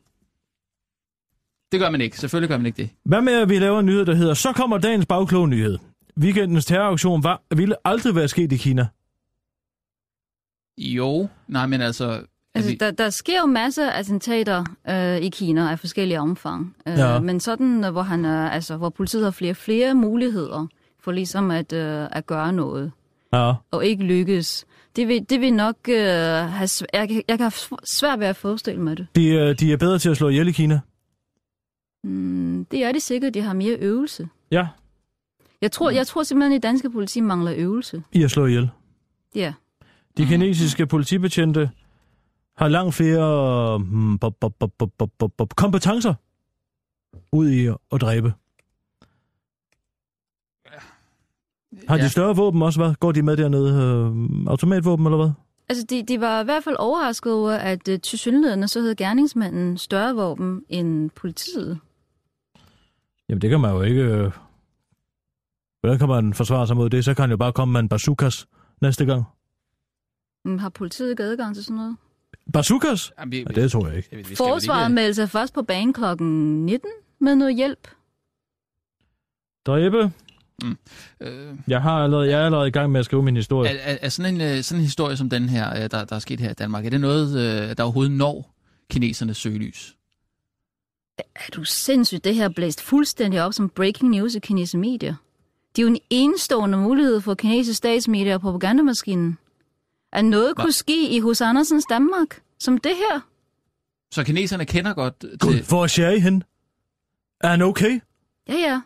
Det gør man ikke. Selvfølgelig gør man ikke det. Hvad med, at vi laver en nyhed, der hedder, så kommer dagens bagklog nyhed. Weekendens terroraktion var, ville aldrig være sket i Kina. Jo, nej, men altså... Altså, vi- der, der sker jo masser af attentater øh, i Kina af forskellige omfang. Øh, Ja. ja. Men sådan, øh, hvor, han, øh, altså, hvor politiet har flere flere muligheder for ligesom at, øh, at gøre noget, Ja. og ikke lykkes. Det vil, det vil nok øh, have... Sv- jeg, kan- jeg kan have sv- svært ved at forestille mig det. De, er- de er bedre til at slå ihjel i Kina. Mm, det er det sikkert, de har mere øvelse. Ja. Jeg tror, jeg tror simpelthen, at det danske politi mangler øvelse. I at slå ihjel. Ja. De kinesiske politibetjente har langt flere mm, bop, bop, bop, bop, bop, bop, bop, kompetencer ud i at dræbe. Har Ja. de større våben også, hvad? Går de med dernede? Øh, automatvåben eller hvad? Altså, de, de var i hvert fald overrasket over, at øh, til synligheden så havde gerningsmanden større våben end politiet. Jamen, det kan man jo ikke... Øh... Hvordan kan man forsvare sig mod det? Så kan han jo bare komme med en bazookas næste gang. Mm, Har politiet ikke adgang til sådan noget? Bazookas? Jamen, vi, Ja, det tror jeg ikke. vi- vi skal vel Forsvaret meldte sig først på banen kl. 19 med noget hjælp. Dræbe? Ikke, øh, Jeg, har allerede, jeg er allerede i gang med at skrive min historie. er, er, er sådan, en, øh, sådan en historie som den her, øh, der, der er sket her i Danmark, er det noget, øh, der overhovedet når kinesernes søgelys? Er du sindssygt? Det her er blæst fuldstændig op som breaking news i kinesiske medier. Det er jo en enestående mulighed for kinesiske statsmedier og propagandamaskinen. At noget kunne ske i hos Andersens Danmark, som det her. Så kineserne kender godt til... Gud, hvor er Sherry hen? Er han okay? Ja, ja.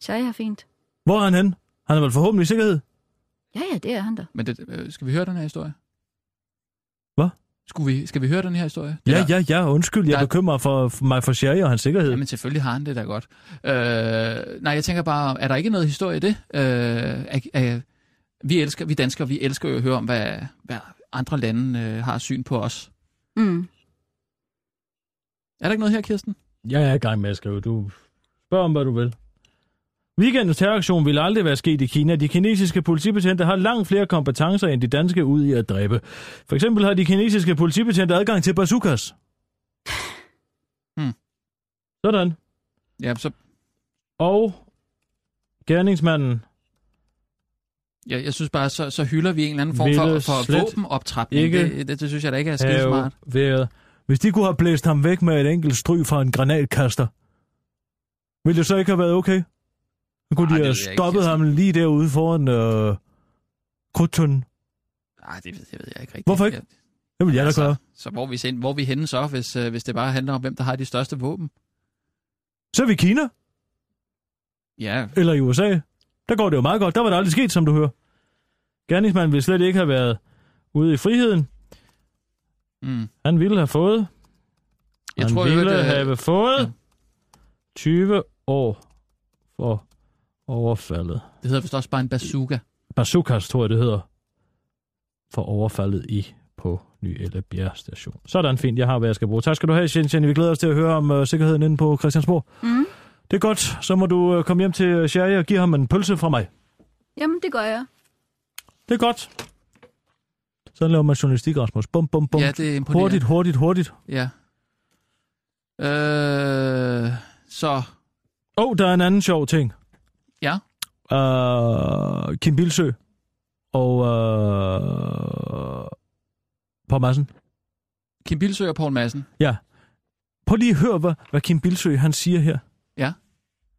Shai har fint. Hvor er han hen? Han er vel forhåbentlig i sikkerhed? Ja, ja, det er han der. Men det, øh, skal vi høre den her historie? Hvad? Skulle vi, skal vi høre den her historie? Ja, ja, ja, undskyld, jeg Der- bekymrer for, for mig for Sherry og hans sikkerhed. Jamen selvfølgelig har han det da godt. Øh, nej, jeg tænker bare, er der ikke noget historie i det? Øh, er, er, vi, elsker, vi danskere, vi elsker jo at høre om, hvad, hvad andre lande øh, har syn på os. Mm. Er der ikke noget her, Kirsten? Jeg er i gang med at skrive. Du spørg om, hvad du vil. Weekendens terroraktion ville aldrig være sket i Kina. De kinesiske politibetjente har langt flere kompetencer end de danske ud i at dræbe. For eksempel har de kinesiske politibetjente adgang til bazookas. Hmm. Sådan. Ja, så, Og gerningsmanden jeg, jeg synes bare, så, så hylder vi en eller anden form Ville for, slet for våbenoptrapning. ikke Det, det, det synes jeg da ikke er skidt have smart. været... Hvis de kunne have blæst ham væk med et enkelt stryg fra en granatkaster, ville det så ikke have været okay? Så kunne Ah, det ved Arh, de have jeg ikke, stoppet Kirsten. ham lige derude foran øh, krudtønden? Nej, det, ved- det ved jeg ikke rigtigt. Hvorfor ikke? Jeg, Det vil jeg da altså, gøre. Så hvor er vi, sen- hvor er vi henne så, hvis, øh, hvis det bare handler om, hvem der har de største våben? Så er vi i Kina, Ja, eller i USA. Der går det jo meget godt. Der var det aldrig sket, som du hører. Gerningsmanden ville slet ikke have været ude i friheden. mm. Han ville have fået. jeg han tror, øh, ville jeg, have fået 20 år for overfaldet. det hedder vist også bare en bazooka. Bazookas, tror jeg, det hedder, for overfaldet i på Ny Ellebjerg station. Sådan fint, jeg har, hvad jeg skal bruge. Tak skal du have, Shenzhen. Vi glæder os til at høre om uh, sikkerheden inde på Christiansborg. Mm. Det er godt, så må du uh, komme hjem til øh, Sherry og give ham en pølse fra mig. Jamen, det gør jeg. Det er godt. Sådan laver man journalistik, Rasmus. Bum, bum, bum. Ja, det er imponerende. hurtigt, hurtigt, hurtigt. Ja. Øh, så, Åh, oh, der er en anden sjov ting. ja. Uh, Kim Bilsø og uh, Paul Madsen. Kim Bilsø og Poul Madsen. Prøv lige at høre, hvad, hvad Kim Bilsø han siger her. Ja.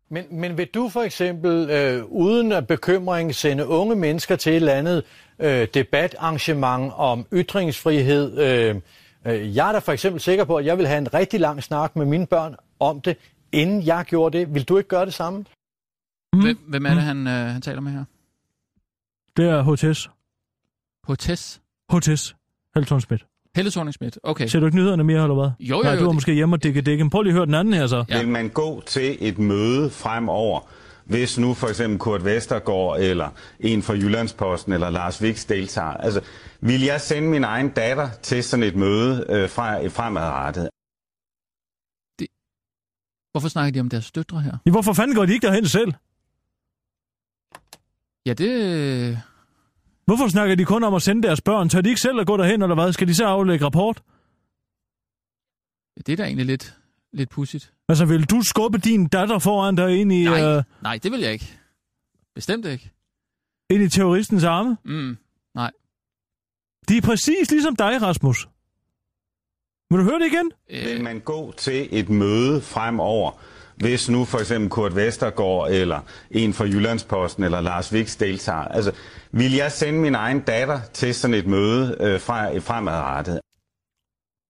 Men, men vil du for eksempel, øh, uden at bekymring, sende unge mennesker til et eller andet øh, debatarrangement om ytringsfrihed? Øh, øh, jeg er da for eksempel sikker på, at jeg vil have en rigtig lang snak med mine børn om det, inden jeg gjorde det. Vil du ikke gøre det samme? Mm. Hvem, hvem er det, han, øh, han taler med her? Det er HTS. Potes? HTS. Helle Thorne Schmidt. Helle thorning Okay. Ser du ikke nyhederne mere, eller hvad? Jo, jo, Nej, jo, du var det- måske hjemme og dække dækken. Prøv lige at høre den anden her så. Ja. Vil man gå til et møde fremover, hvis nu for eksempel Kurt Vestergaard eller en fra Jyllandsposten eller Lars Viks deltager? Altså, vil jeg sende min egen datter til sådan et møde øh, fra, fremadrettet? Hvorfor snakker de om deres døtre her? Ja. Hvorfor fanden går de ikke derhen selv? Ja, det... øh, Hvorfor snakker de kun om at sende deres børn? Tør de ikke selv at gå derhen, eller hvad? Skal de så aflægge rapport? Det er da egentlig lidt, lidt pudsigt. Altså, vil du skubbe din datter foran dig ind i, Nej, øh, nej, det vil jeg ikke. Bestemt ikke. ind i terroristens arme? Mm. De er præcis ligesom dig, Rasmus. Vil du høre det igen? Øh, Vil man gå til et møde fremover, hvis nu for eksempel Kurt Vestergaard eller en fra Jyllandsposten eller Lars Viks deltager? Altså, vil jeg sende min egen datter til sådan et møde øh, fra, fremadrettet?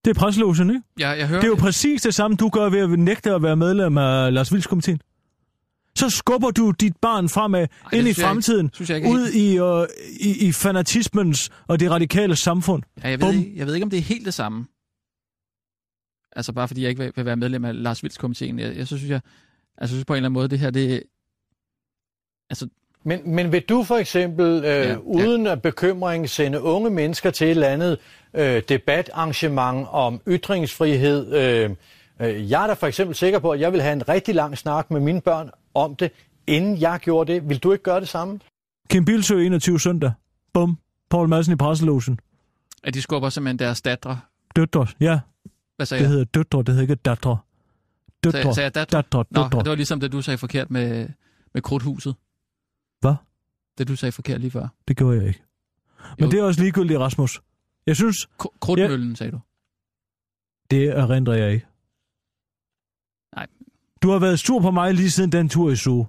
Det er preslogen, ikke? jeg, jeg hører... Det er jo præcis det samme, du gør ved at nægte at være medlem af Lars Vilds komiteen. Så skubber du dit barn fremad Ej, det ind i synes jeg ikke- fremtiden, synes jeg ikke er ud i, øh, i, i fanatismens og det radikale samfund. Ja, jeg, ved Bum. ikke, jeg ved ikke, om det er helt det samme. Altså bare fordi jeg ikke vil, vil være medlem af Lars Vilds komiteen. Jeg, jeg, så synes jeg, altså, synes på en eller anden måde, det her, det, Men, men vil du for eksempel, øh, Ja, ja, ja. ja. uden at bekymring, sende unge mennesker til et eller andet øh, debatarrangement om ytringsfrihed? Øh, øh, jeg er da for eksempel sikker på, at jeg vil have en rigtig lang snak med mine børn om det, inden jeg gjorde det. Vil du ikke gøre det samme? Kim Bilsø 21 søndag. Bum. Paul Madsen i presselogen. at de skubber simpelthen deres datre. Døtre. Ja, Hvad sagde det jeg? hedder døtre, det hedder ikke datre. Døtre. Sagde- sagde jeg datre? Datre, Nå, døtre. det var ligesom det, du sagde forkert med, med krudthuset. Hvad? Det, du sagde forkert lige før. Det gjorde jeg ikke. Men Jo. det er også ligegyldigt, Rasmus. Jeg synes, Kr- Krudtmøllen, sagde du. det erindrer jeg ikke. Nej. Du har været sur på mig lige siden den tur i Zoo.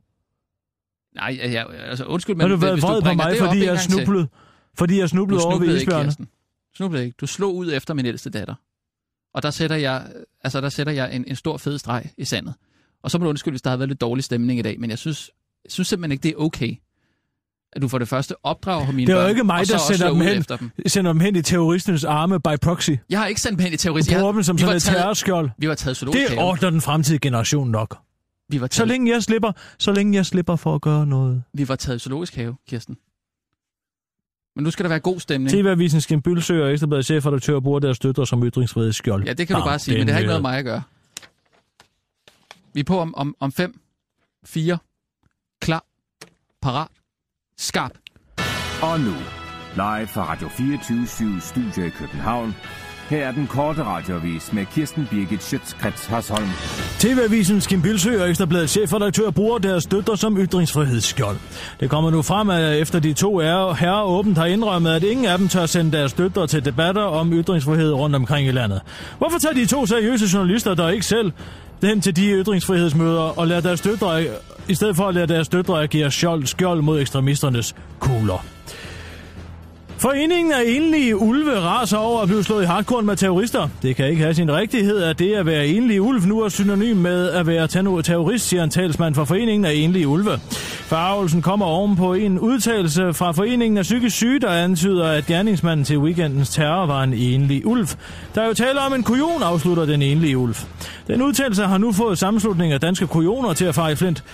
Nej, ja, ja, altså undskyld, men Men har du været hvis vred du på bringer mig, det op en fordi jeg, gang til- snublede, fordi jeg Du snublede over ved snublede ikke, isbjørne? Kirsten. Du snublede ikke. Du slog ud efter min ældste datter. Og der sætter jeg, altså der sætter jeg en, en stor fed streg i sandet. Og så må du undskylde, hvis der har været lidt dårlig stemning i dag, men jeg synes, jeg synes simpelthen ikke, det er okay, at du for det første opdrager mine Det er jo børn, ikke mig, og så der også sender slår dem, ud hen, Efter dem. sender dem hen i terroristernes arme by proxy. Jeg har ikke sendt dem hen i terrorister. Jeg Bruger har- dem som vi var sådan et taget- terrorskjold. Vi var taget Det zoologisk have. ordner den fremtidige generation nok. Vi var taget, Så længe jeg slipper, så længe jeg slipper for at gøre noget. vi var taget i zoologisk have, Kirsten. Men nu skal der være god stemning. TV-avisen Skimbylsø og Ekstrabladets chefredaktør bruger deres støtter som ytringsfrihedsskjold. Ja, det kan du Bam, bare sige, men den øh, det har ikke her. noget med mig at gøre. Vi er på om, om, om fem, fire, klar, parat, skarp. Og nu, live fra Radio 24 Studio i København. Her er den korte radiovis med Kirsten Birgit Schøtzgrads Hasholm. TV-avisen Kim Bilsø og Ekstrabladets chefredaktør bruger deres støtter som ytringsfrihedsskjold. Det kommer nu frem, at efter de to herrer, herrer åbent har indrømmet, at ingen af dem tør sende deres støtter til debatter om ytringsfrihed rundt omkring i landet. Hvorfor tager de to seriøse journalister, der ikke selv hen til de ytringsfrihedsmøder og lader deres støtter, i stedet for at lade deres støtter agere skjold, skjold mod ekstremisternes kugler? Foreningen af enlige ulve raser over at blive slået i hardcore med terrorister. Det kan ikke have sin rigtighed, at det at være enlig ulv nu er synonym med at være terno- terrorist, siger en talsmand for Foreningen af enlige ulve. Farvelsen kommer oven på en udtalelse fra Foreningen af psykisk syge, der antyder, at gerningsmanden til weekendens terror var en enlig ulv. Der er jo tale om en kujon, afslutter den enlige ulv. Den udtalelse har nu fået sammenslutningen af danske kujoner til at fare i flint.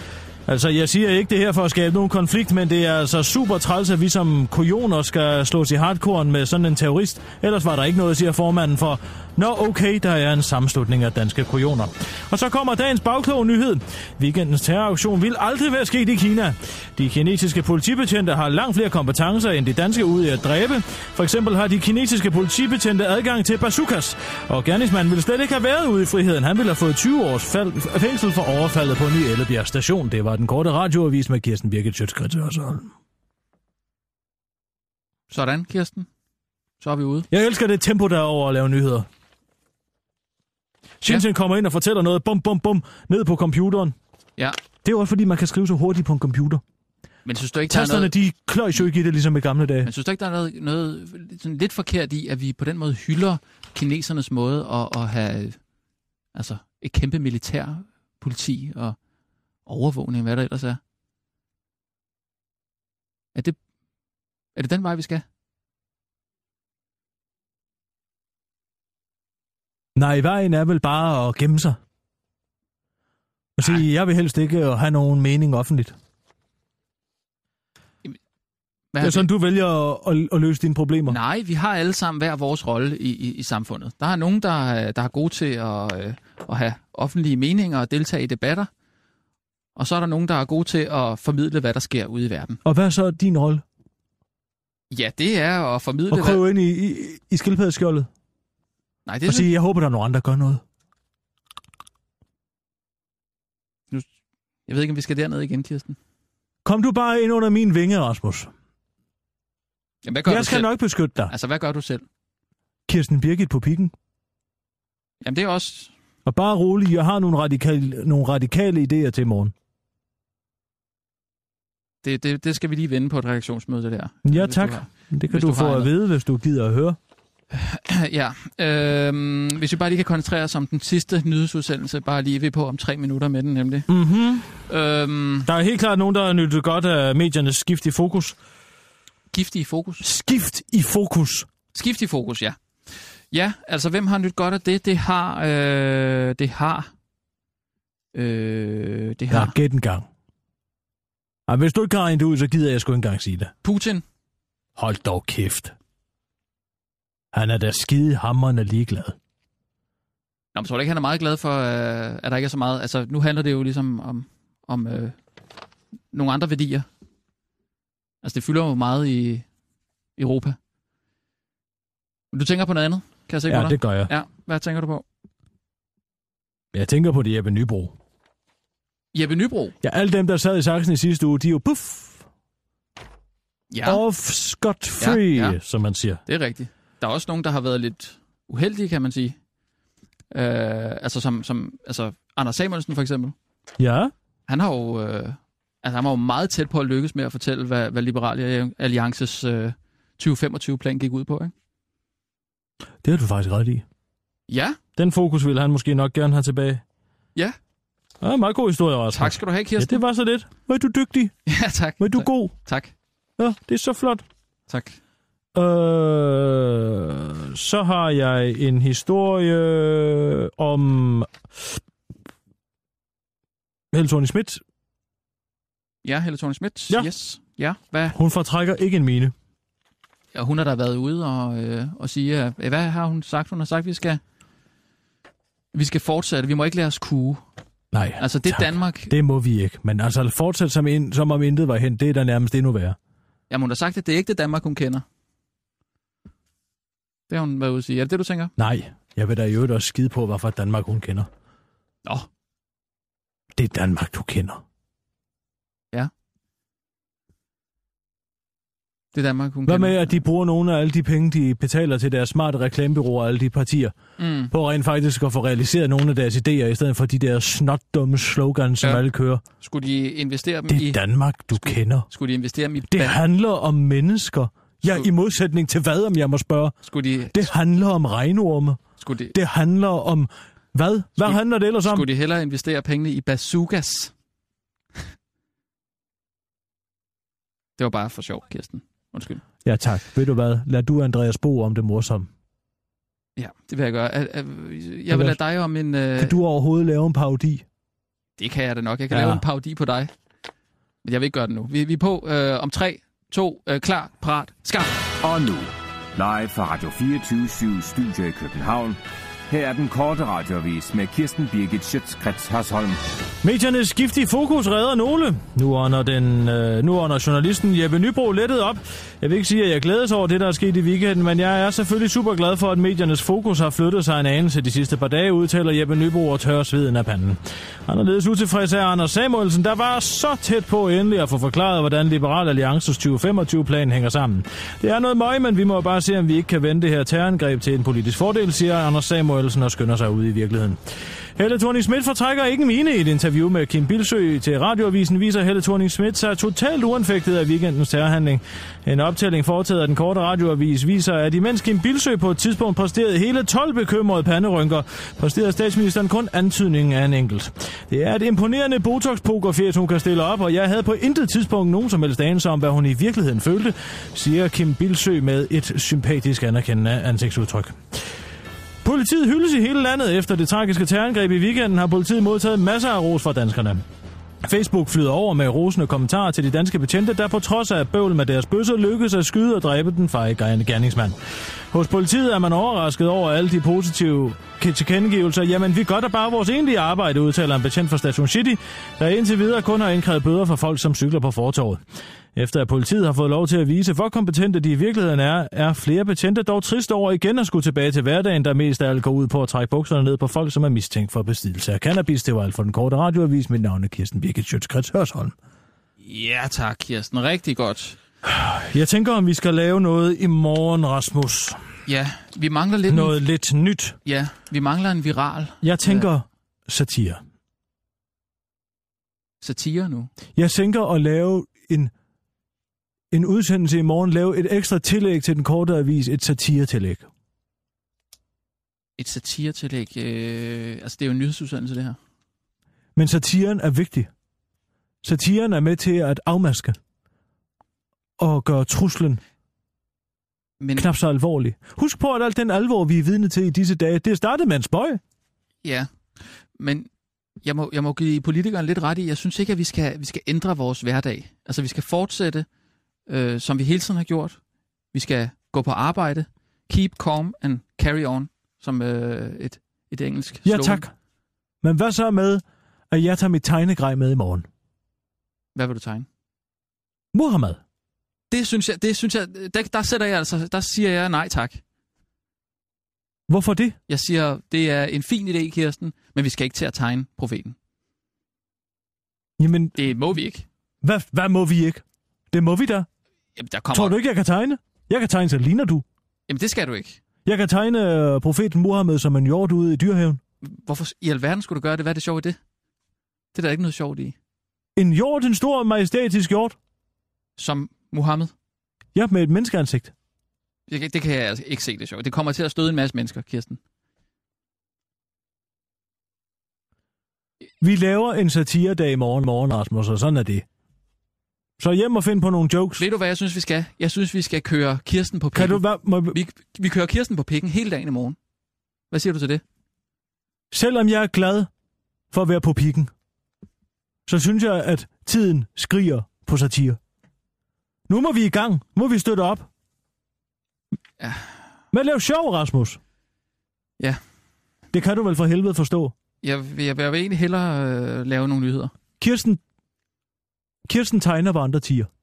Altså, jeg siger ikke det her for at skabe nogen konflikt, men det er altså super træls, at vi som kujoner skal slås i hardcore med sådan en terrorist. Ellers var der ikke noget, siger formanden for. Nå, okay, der er en sammenslutning af danske kujoner. Og så kommer dagens bagkloge nyhed. Weekendens terroraktion vil aldrig være sket i Kina. De kinesiske politibetjente har langt flere kompetencer end de danske ude i at dræbe. For eksempel har de kinesiske politibetjente adgang til bazookas. Og gerningsmanden ville slet ikke have været ude i friheden. Han ville have fået 20 års fald, fængsel for overfaldet på Ny Ellebjerg station. Det var den korte radioavis med Kirsten Birgit Sjøtskrets Hørsholm. Sådan, Kirsten. Så er vi ude. Jeg elsker det tempo, der er over at lave nyheder. Shenzhen ja. kommer ind og fortæller noget, bum, bum, bum, ned på computeren. Ja, Det er jo også fordi, man kan skrive så hurtigt på en computer. men synes du ikke, der er Tasterne, noget, de kløjs jo ikke i det, ligesom i gamle dage. men synes du ikke, der er noget, noget sådan lidt forkert i, at vi på den måde hylder kinesernes måde at, at have altså, et kæmpe militær politi og overvågning, hvad der ellers er? Er det, er det den vej, vi skal? Nej, vejen er vel bare at gemme sig. Og sige, jeg vil helst ikke øh, have nogen mening offentligt. Det Hvad er det? sådan, du vælger at, at, at løse dine problemer. Nej. Nej, vi har alle sammen hver vores rolle i, i, i samfundet. Der er nogen, der, øh, der er gode til at, øh, at have offentlige meninger og deltage i debatter. Og så er der nogen, der er gode til at formidle, hvad der sker ude i verden. Og hvad er så din rolle? Ja, det er at formidle... Og hvad... kryve ind i, i, i skildpaddeskjoldet Nej, det er og sige, jeg håber, der er nogen andre, der gør noget. Jeg ved ikke, om vi skal derned igen, Kirsten. Kom du bare ind under min vinge, Rasmus. Jamen, hvad gør Jeg du skal selv? nok beskytte dig. Altså, hvad gør du selv? Kirsten Birgit på pikken. Jamen, det er også... Og bare rolig, jeg har nogle radikale, nogle radikale idéer til i morgen. Det, det, det skal vi lige vende på et reaktionsmøde, det der. Ja, Hvis du tak. har- Det kan Hvis du, du få har at noget. vide, hvis du gider at høre. Ja, øh, hvis vi bare lige kan koncentrere os om den sidste nyhedsudsendelse, bare lige vi er på om tre minutter med den, nemlig. Mm-hmm. Øh, Der er helt klart nogen, der har nyttet godt af mediernes skift i fokus. giftige fokus. Skift i fokus. Skift i fokus, ja. Ja, altså hvem har nyt godt af det? Det har... Øh, det har... Øh, det Ja, har ja gæt en gang. Ej, hvis du ikke har regnet det ud, så gider jeg sgu ikke engang sige det. Putin. Hold dog kæft. Han er da skide hammerne ligeglad. Nå, men tror du ikke, han er meget glad for, øh, at der ikke er så meget... Altså, nu handler det jo ligesom om, om øh, nogle andre værdier. Altså, det fylder jo meget i Europa. Men Du tænker på noget andet, kan jeg se Ja, på dig? det gør jeg. Ja, hvad tænker du på? Jeg tænker på det Jeppe Nybro. Jeppe Nybro. Ja, alle dem, der sad i saksen i sidste uge, de er jo puff, Ja, ja. off scot free, Ja, ja, ja. ja. som man siger. Det er rigtigt. Der er også nogen, der har været lidt uheldige, kan man sige. Øh, altså som, som altså Anders Samuelsen for eksempel. Ja, Han har jo øh, altså han var jo meget tæt på at lykkes med at fortælle, hvad, hvad Liberale Alliances øh, 2025-plan gik ud på. Ikke? det har du faktisk ret i. Ja, Den fokus ville han måske nok gerne have tilbage. Ja. Ja, meget god historie, Rasmus. tak skal du have, Ja, Kirsten. det var så lidt. Hvor er du dygtig? Ja, tak. Hvor er du tak, god? Tak. Ja, Nå, det er så flot. Tak. Øh, så har jeg en historie om Helle Thorne Schmidt. Ja, Helle Thorne Schmidt. Ja. Yes. Ja, hvad? Hun fortrækker ikke en mine. Og hun har da været ude og, øh, og sige, øh, hvad har hun sagt? Hun har sagt, vi skal, vi skal fortsætte. Vi må ikke lade os kue. Nej, Altså det tak. Danmark... det må vi ikke. Men altså fortsæt som, in, som om intet var hen, det er da nærmest endnu værre. Jamen hun har sagt, at det er ikke det Danmark, hun kender. Det har hun været ude at sige. Er det det, du tænker? Nej, jeg vil da i øvrigt også skide på, hvorfor Danmark hun kender. Nå, Det er Danmark, du kender. det er Danmark, hun Hvad kender. med, at de bruger nogle af alle de penge, de betaler til deres smarte reklamebyråer og alle de partier, Mm. på rent faktisk at få realiseret nogle af deres idéer, i stedet for de der snotdumme slogans, som Ja. alle kører. Skulle de investere dem Det i... er Danmark, du kender. Skulle de investere dem i... Det ba- handler om mennesker. Ja, i modsætning til hvad, om jeg må spørge. Skulle de... Det handler om regnorme. Skulle de... Det handler om... Hvad? Hvad Skulle- handler det ellers om? Skulle de hellere investere pengene i bazookas? det var bare for sjov, Kirsten. Undskyld. Ja, tak. Ved du hvad? Lad du, Andreas, bo om det morsomme. Ja, det vil jeg gøre. Er- er- Jeg vil lade dig om en... Øh... Kan du overhovedet lave en parodi? Det kan jeg da nok. Jeg kan Ja. ja. lave en parodi på dig. Men jeg vil ikke gøre det nu. Vi, vi er på øh, om 3, 2, øh, klar, parat, skarp. Og nu, live fra Radio 24 Studio i København. Her er den korte radiovis med Kirsten Birgit Schøtzgrads Hasholm. Mediernes skift i fokus redder nogle. Nu ånder, den, øh, nu ånder journalisten Jeppe Nybro lettet op. Jeg vil ikke sige, at jeg glædes over det, der er sket i weekenden, men jeg er selvfølgelig super glad for, at mediernes fokus har flyttet sig en anelse de sidste par dage, udtaler Jeppe Nybro og tørrer sveden af panden. Anderledes utilfreds er Anders Samuelsen, der var så tæt på endelig at få forklaret, hvordan Liberal Alliances 2025-plan hænger sammen. Det er noget møg, men vi må bare se, om vi ikke kan vende det her terrorangreb til en politisk fordel, siger Anders Samuelsen og skynder sig ud i virkeligheden. Helle thorning Schmidt fortrækker ikke mine i et interview med Kim Bilsø til radioavisen, viser Helle thorning Schmidt sig totalt uanfægtet af weekendens terrorhandling. En optælling foretaget af den korte radioavis viser, at imens Kim Bilsø på et tidspunkt præsterede hele 12 bekymrede panderynker, præsterede statsministeren kun antydningen af en enkelt. Det er et imponerende botox pokerfjes hun kan stille op, og jeg havde på intet tidspunkt nogen som helst anelse om, hvad hun i virkeligheden følte, siger Kim Bilsø med et sympatisk anerkendende ansigtsudtryk. Politiet hyldes i hele landet efter det tragiske terrorangreb i weekenden, har politiet modtaget masser af ros fra danskerne. Facebook flyder over med rosende kommentarer til de danske betjente, der på trods af bøvl med deres bøsser lykkedes at skyde og dræbe den fejegejende gerningsmand. Hos politiet er man overrasket over alle de positive k- tilkendegivelser. Jamen, vi gør da bare vores egentlige arbejde, udtaler en betjent fra Station City, der indtil videre kun har indkrævet bøder for folk, som cykler på fortorvet. Efter at politiet har fået lov til at vise, hvor kompetente de i virkeligheden er, er flere betjente dog trist over igen at skulle tilbage til hverdagen, der mest af alt går ud på at trække bukserne ned på folk, som er mistænkt for besiddelse af cannabis. Det var alt for den korte radioavis. Mit navn er Kirsten Birgit Sjøtskrets Hørsholm. Ja tak, Ah, Kirsten. Rigtig godt. Jeg tænker, om vi skal lave noget i morgen, Rasmus. Ja, vi mangler lidt... Noget lidt nyt. Ja, vi mangler en viral Jeg tænker satire. satire nu. Jeg tænker at lave en, en udsendelse i morgen, lave et ekstra tillæg til den korte avis, et satiretillæg. Et satiretillæg. Øh, altså, det er jo en nyhedsudsendelse, det her. Men satiren er vigtig. Satiren er med til at afmaske og gøre truslen Men knap så alvorlig. Husk på, at alt den alvor, vi er vidne til i disse dage, det er startet med en spøj. ja, men jeg må, jeg må give politikeren lidt ret i, jeg synes ikke, at vi skal, vi skal ændre vores hverdag. Altså, vi skal fortsætte, øh, som vi hele tiden har gjort. Vi skal gå på arbejde. Keep calm and carry on, som øh, et, et engelsk Ja slogan. tak. Men hvad så med, at jeg tager mit tegnegrej med i morgen? Hvad vil du tegne? Muhammad. Det synes jeg, det synes jeg der, der sætter jeg altså, der siger jeg nej tak. Hvorfor det? Jeg siger, det er en fin idé, Kirsten, men vi skal ikke til at tegne profeten. Jamen, Det må vi ikke. hvad, hvad må vi ikke? Det må vi da. Jamen, der kommer... Tror du ikke, jeg kan tegne? Jeg kan tegne, så ligner du. Jamen, det skal du ikke. Jeg kan tegne øh, profeten Muhammed som en hjort ude i dyrehaven. Hvorfor i alverden skulle du gøre det? Hvad er det sjovt i det? Det er der ikke noget sjovt i. En hjort, en stor, majestætisk hjort. Som Mohammed. Ja, med et menneskeansigt. Det, kan- det kan jeg altså ikke se det sjovt. Det kommer til at støde en masse mennesker, Kirsten. Vi laver en satiredag i morgen morgen, Rasmus, og sådan er det. Så hjem og find på nogle jokes. Ved du, hvad jeg synes, vi skal? Jeg synes, vi skal køre Kirsten på Kan pikken. du, hvad, må, Vi, vi kører Kirsten på pikken hele dagen i morgen. Hvad siger du til det? selvom jeg er glad for at være på pikken, så synes jeg, at tiden skriger på satire. Nu må vi i gang. Nu må vi støtte op. Ja. Men lav sjov, Rasmus. Ja. Det kan du vel for helvede forstå. Jeg, jeg, jeg vil egentlig hellere øh, lave nogle nyheder. Kirsten, Kirsten tegner, hvor andre tiger.